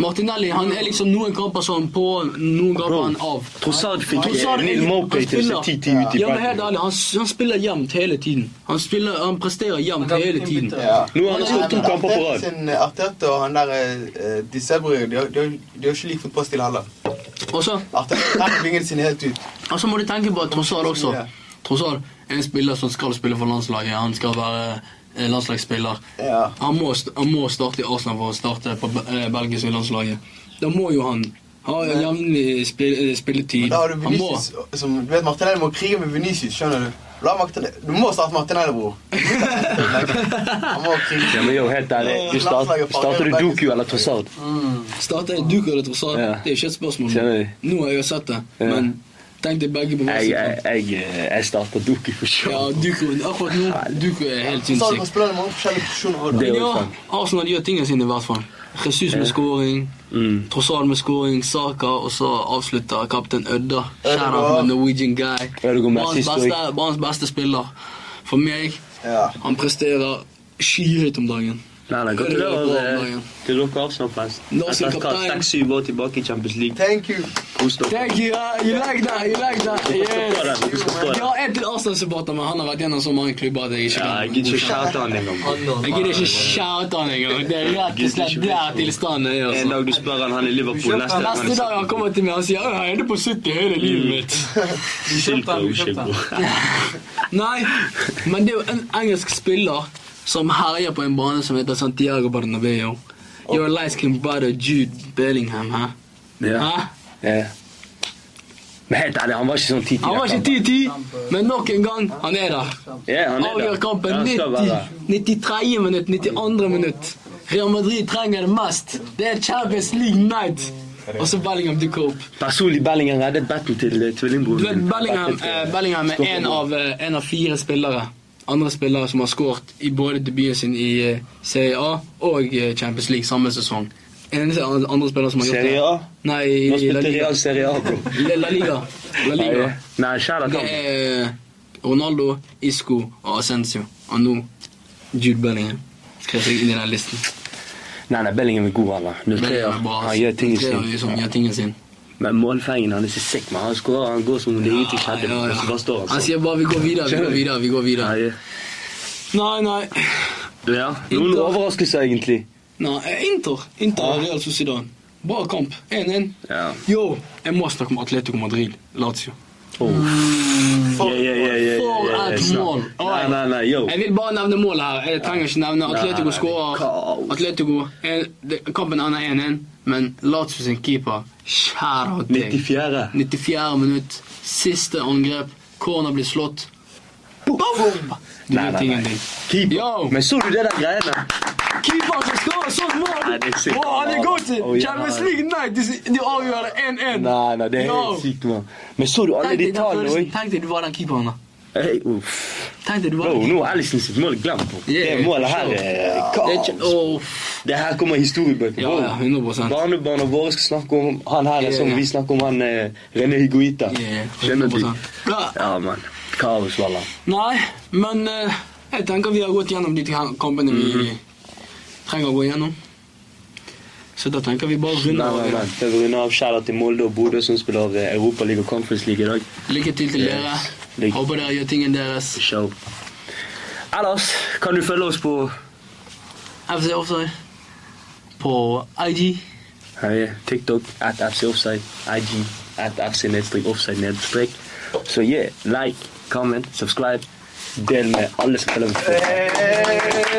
[SPEAKER 2] Martinelli han er liksom noen kamper sånn på, noen kamper han av.
[SPEAKER 1] Trossard fikk
[SPEAKER 2] Trossard
[SPEAKER 1] eh, Neil
[SPEAKER 2] er-
[SPEAKER 1] Mopay
[SPEAKER 2] han
[SPEAKER 1] til
[SPEAKER 2] spiller-
[SPEAKER 1] sin 10-10 ute i
[SPEAKER 2] Ja, men helt
[SPEAKER 1] Brighton.
[SPEAKER 2] ærlig, han, han spiller jevnt hele tiden. Han, spiller, han presterer jevnt
[SPEAKER 4] Han kan
[SPEAKER 2] hele
[SPEAKER 4] bli
[SPEAKER 2] tiden.
[SPEAKER 4] innbytter.
[SPEAKER 3] Ja.
[SPEAKER 1] Nå har han slått to
[SPEAKER 3] Men
[SPEAKER 1] kamper på
[SPEAKER 3] Arteta
[SPEAKER 1] rad.
[SPEAKER 3] sin- Arteta og han der eh, Di Sebrio, de har de har- de har ikke lik fotballstil heller.
[SPEAKER 2] Og så
[SPEAKER 3] Arteta trenger vingene sine helt ut.
[SPEAKER 2] og så må du tenke på at Trossard også
[SPEAKER 3] Ja.
[SPEAKER 2] Trossard er en spiller som skal spille for landslaget. Han skal være eh, landslagsspiller.
[SPEAKER 3] Ja.
[SPEAKER 2] Han må, st- han må starte i Arsenal for å starte på Be- eh, Belgisk landslaget. Da må jo han ha jevnlig spill- eh, spilletid.
[SPEAKER 3] Da har du
[SPEAKER 2] Han må
[SPEAKER 3] Vinicius som Du vet, Martinelli må krige med Vinicius, skjønner du? La Martinelli, du må starte Martinelli, bror. Han må
[SPEAKER 1] Ja,
[SPEAKER 3] krige.
[SPEAKER 1] men jo, helt ærlig. Du start, starter du Doku eller Trossard?
[SPEAKER 2] starte i Duker eller Trossard.
[SPEAKER 1] Ja.
[SPEAKER 2] Det er jo ikke et spørsmål.
[SPEAKER 1] Skjønner du?
[SPEAKER 2] Nå har jeg jo sett det,
[SPEAKER 1] Ja.
[SPEAKER 2] men tenk deg begge på hver
[SPEAKER 1] Jeg,
[SPEAKER 2] sin
[SPEAKER 1] jeg,
[SPEAKER 2] kant.
[SPEAKER 1] jeg, jeg starter Doku for
[SPEAKER 2] Ja,
[SPEAKER 1] show.
[SPEAKER 2] Duker, akkurat nå Duker er helt
[SPEAKER 3] Så du
[SPEAKER 2] sinnssyk.
[SPEAKER 3] kan spille mange forskjellige posisjoner. også, da.
[SPEAKER 1] Det er jo
[SPEAKER 2] Ja,
[SPEAKER 1] sant.
[SPEAKER 2] Arsenal gjør tingene sine i hvert fall. Jesus med scoring,
[SPEAKER 1] Mm.
[SPEAKER 2] Trossard med scoring, Saka, og så avslutter kaptein Ødda. Shadow
[SPEAKER 3] Ødegaard.
[SPEAKER 2] med Norwegian guy.
[SPEAKER 1] Ødegaard med
[SPEAKER 2] Banens
[SPEAKER 1] assist også.
[SPEAKER 2] beste, banens beste spiller. For meg,
[SPEAKER 3] Ja.
[SPEAKER 2] han presterer skyhøyt om dagen.
[SPEAKER 1] Nei, nei, gratulerer eh, til dere Arsenal-fans.
[SPEAKER 2] Larsen
[SPEAKER 1] Etter hva,
[SPEAKER 2] kaptein.
[SPEAKER 1] seks-syv år tilbake i Champions League.
[SPEAKER 3] Thank you.
[SPEAKER 1] Kos dere.
[SPEAKER 2] Thank you, uh, you like that, you like that.
[SPEAKER 1] Dere står der, dere står der.
[SPEAKER 2] Ja, jeg er til Arsenal-supporter, men han har vært gjennom så mange klubber at jeg ikke
[SPEAKER 1] Ja,
[SPEAKER 2] kan
[SPEAKER 1] jeg gidder ikke shoute han engang. bro.
[SPEAKER 2] Jeg gidder ikke shoute han engang. Det er rett og slett der tilstanden er.
[SPEAKER 1] En
[SPEAKER 2] altså.
[SPEAKER 1] dag du spør han, han er i Liverpool. Neste dag han
[SPEAKER 2] Neste
[SPEAKER 1] er
[SPEAKER 2] dag han kommer til meg og sier «Å, jeg er inne på 70 hele livet mitt.
[SPEAKER 4] Vi
[SPEAKER 1] Skyld
[SPEAKER 4] kjøpte
[SPEAKER 1] på
[SPEAKER 4] han, vi
[SPEAKER 1] uskyld,
[SPEAKER 4] kjøpte han.
[SPEAKER 1] bror.
[SPEAKER 2] Nei, men det er jo en engelsk spiller som herjer på en bane som heter Santiago Bernabeu. Your light skin brother Jude Bellingham, hæ?
[SPEAKER 1] Ja.
[SPEAKER 2] Hæ?
[SPEAKER 1] ja. Men helt ærlig, han var ikke sånn 10-10.
[SPEAKER 2] Han var ikke 10-10, men nok en gang, han er der.
[SPEAKER 1] Ja, han er
[SPEAKER 2] Avgjør
[SPEAKER 1] der. Ja,
[SPEAKER 2] kampen
[SPEAKER 1] han skal være
[SPEAKER 2] 90,
[SPEAKER 1] der.
[SPEAKER 2] 93. minutt, 92. minutt. Real Madrid trenger det mest. Det er Champions League night. Og så Bellingham dukker opp.
[SPEAKER 1] Personlig, Bellingham reddet batten til eh,
[SPEAKER 2] Du vet,
[SPEAKER 1] tvillingbroren min.
[SPEAKER 2] Bellingham,
[SPEAKER 1] Batten, eh,
[SPEAKER 2] eh, Bellingham er en av, eh, en av fire spillere. Andre spillere som har skåret i både debuten sin i eh, Serie A og eh, Champions League samme sesong. Eneste andre spiller som har gjort det.
[SPEAKER 1] Serie A?
[SPEAKER 2] Nei,
[SPEAKER 1] Nå
[SPEAKER 2] i La
[SPEAKER 1] spilte
[SPEAKER 2] Liga.
[SPEAKER 1] Real Serie A, bro.
[SPEAKER 2] La Liga. La Liga.
[SPEAKER 1] Nei, kjære
[SPEAKER 2] Det
[SPEAKER 1] kamp.
[SPEAKER 2] er Ronaldo, Isco og Ascencio. Og nå Jude Bellingham. Skrev seg inn i den listen.
[SPEAKER 1] Nei, nei, Bellingham er god, han. da. Nå
[SPEAKER 2] Bellingham er bra,
[SPEAKER 1] Han
[SPEAKER 2] ass.
[SPEAKER 1] gjør tingene
[SPEAKER 2] Tre år, liksom,
[SPEAKER 1] sine.
[SPEAKER 2] gjør tingene sine.
[SPEAKER 1] Men målfeingen, han er så sick, men han skårer, han går som om det ingenting skjedde.
[SPEAKER 2] Ja, ja, ja.
[SPEAKER 1] Og så bare står
[SPEAKER 2] Han
[SPEAKER 1] han sånn.
[SPEAKER 2] sier bare 'vi går videre', vi går videre. vi går
[SPEAKER 1] Ja,
[SPEAKER 2] videre.
[SPEAKER 1] ja.
[SPEAKER 2] Nei, nei.
[SPEAKER 1] Ja, noen
[SPEAKER 2] Inter-
[SPEAKER 1] overraskelser, egentlig.
[SPEAKER 2] nei eh, Inter. Inter og Real Sociedad. Bra kamp. 1-1.
[SPEAKER 1] Ja.
[SPEAKER 2] Yo, jeg må snakke om Atletico Madrid. Lazio.
[SPEAKER 1] Oh. Ja,
[SPEAKER 3] For-
[SPEAKER 1] ja, ja, ja, ja,
[SPEAKER 2] Mm. For
[SPEAKER 1] ja, ja,
[SPEAKER 2] et
[SPEAKER 1] snart.
[SPEAKER 2] mål.
[SPEAKER 1] Nei, nei, nei, yo.
[SPEAKER 2] Jeg vil bare nevne målet her. Jeg trenger ikke nevne
[SPEAKER 1] Nei,
[SPEAKER 2] Atletico
[SPEAKER 1] nei,
[SPEAKER 2] skårer.
[SPEAKER 1] kaos.
[SPEAKER 2] Atletico er, det, Kampen ender 1-1, men Lazio sin keeper skjærer av deg.
[SPEAKER 1] 94.
[SPEAKER 2] 94. minutt, siste angrep, corner blir slått. Boom! Du
[SPEAKER 1] Nei,
[SPEAKER 2] gjør
[SPEAKER 1] nei,
[SPEAKER 2] tingen
[SPEAKER 1] nei.
[SPEAKER 2] din. Yo.
[SPEAKER 1] Keeper. Men så du det der greiene?
[SPEAKER 2] Keeperen som skårer sånt mål!
[SPEAKER 1] Nei, det er sykt.
[SPEAKER 2] Å, han er god til
[SPEAKER 1] Å, ja.
[SPEAKER 2] Champions League night! De, de avgjør det 1-1.
[SPEAKER 1] Nei, nei, det er
[SPEAKER 2] Yo.
[SPEAKER 1] helt sykt, mann. Men så du alle
[SPEAKER 2] Tenk
[SPEAKER 1] de
[SPEAKER 2] deg den
[SPEAKER 1] tallene
[SPEAKER 2] følelsen.
[SPEAKER 1] òg?
[SPEAKER 2] Tenk deg du var den keeperen, da.
[SPEAKER 1] Hey, uff.
[SPEAKER 2] Tenk deg du var
[SPEAKER 1] Bro,
[SPEAKER 2] den
[SPEAKER 1] nå er Alison sitt mål glemt. bro.
[SPEAKER 2] Yeah,
[SPEAKER 1] det målet her
[SPEAKER 2] for sure.
[SPEAKER 1] er
[SPEAKER 2] Det er ikke-
[SPEAKER 1] kaos.
[SPEAKER 2] Åh,
[SPEAKER 1] Det her kommer i historiebøker.
[SPEAKER 2] Ja,
[SPEAKER 1] bro.
[SPEAKER 2] ja, 100%.
[SPEAKER 1] Barnebarna våre skal snakke om han her er som
[SPEAKER 2] Yeah.
[SPEAKER 1] vi snakker om han eh, René Higuita.
[SPEAKER 2] Yeah,
[SPEAKER 1] Skjønner du?
[SPEAKER 2] 100%. Ja.
[SPEAKER 1] Ja, mann. Kaos, wallah.
[SPEAKER 2] Nei, men eh, jeg tenker vi har gått gjennom de her kampene vi
[SPEAKER 1] Mhm.
[SPEAKER 2] trenger å gå gjennom. Så da tenker vi bare å
[SPEAKER 1] Nei,
[SPEAKER 2] runde
[SPEAKER 1] nei, nei.
[SPEAKER 2] av.
[SPEAKER 1] Jeg vil runde av skjæra til Molde og Bodø, som spiller av eh, Europaliga og Conference League i dag.
[SPEAKER 2] Lykke til til dere.
[SPEAKER 1] Yes. Lykke-
[SPEAKER 2] Håper dere gjør tingen deres.
[SPEAKER 1] Show. Ellers kan du følge oss på
[SPEAKER 2] FC Offside på IG.
[SPEAKER 1] Hei, TikTok at FC Offside, IG at FC nedstrek offside nedstrek. Så yeah, like, comment, subscribe. Del med alle som følger med.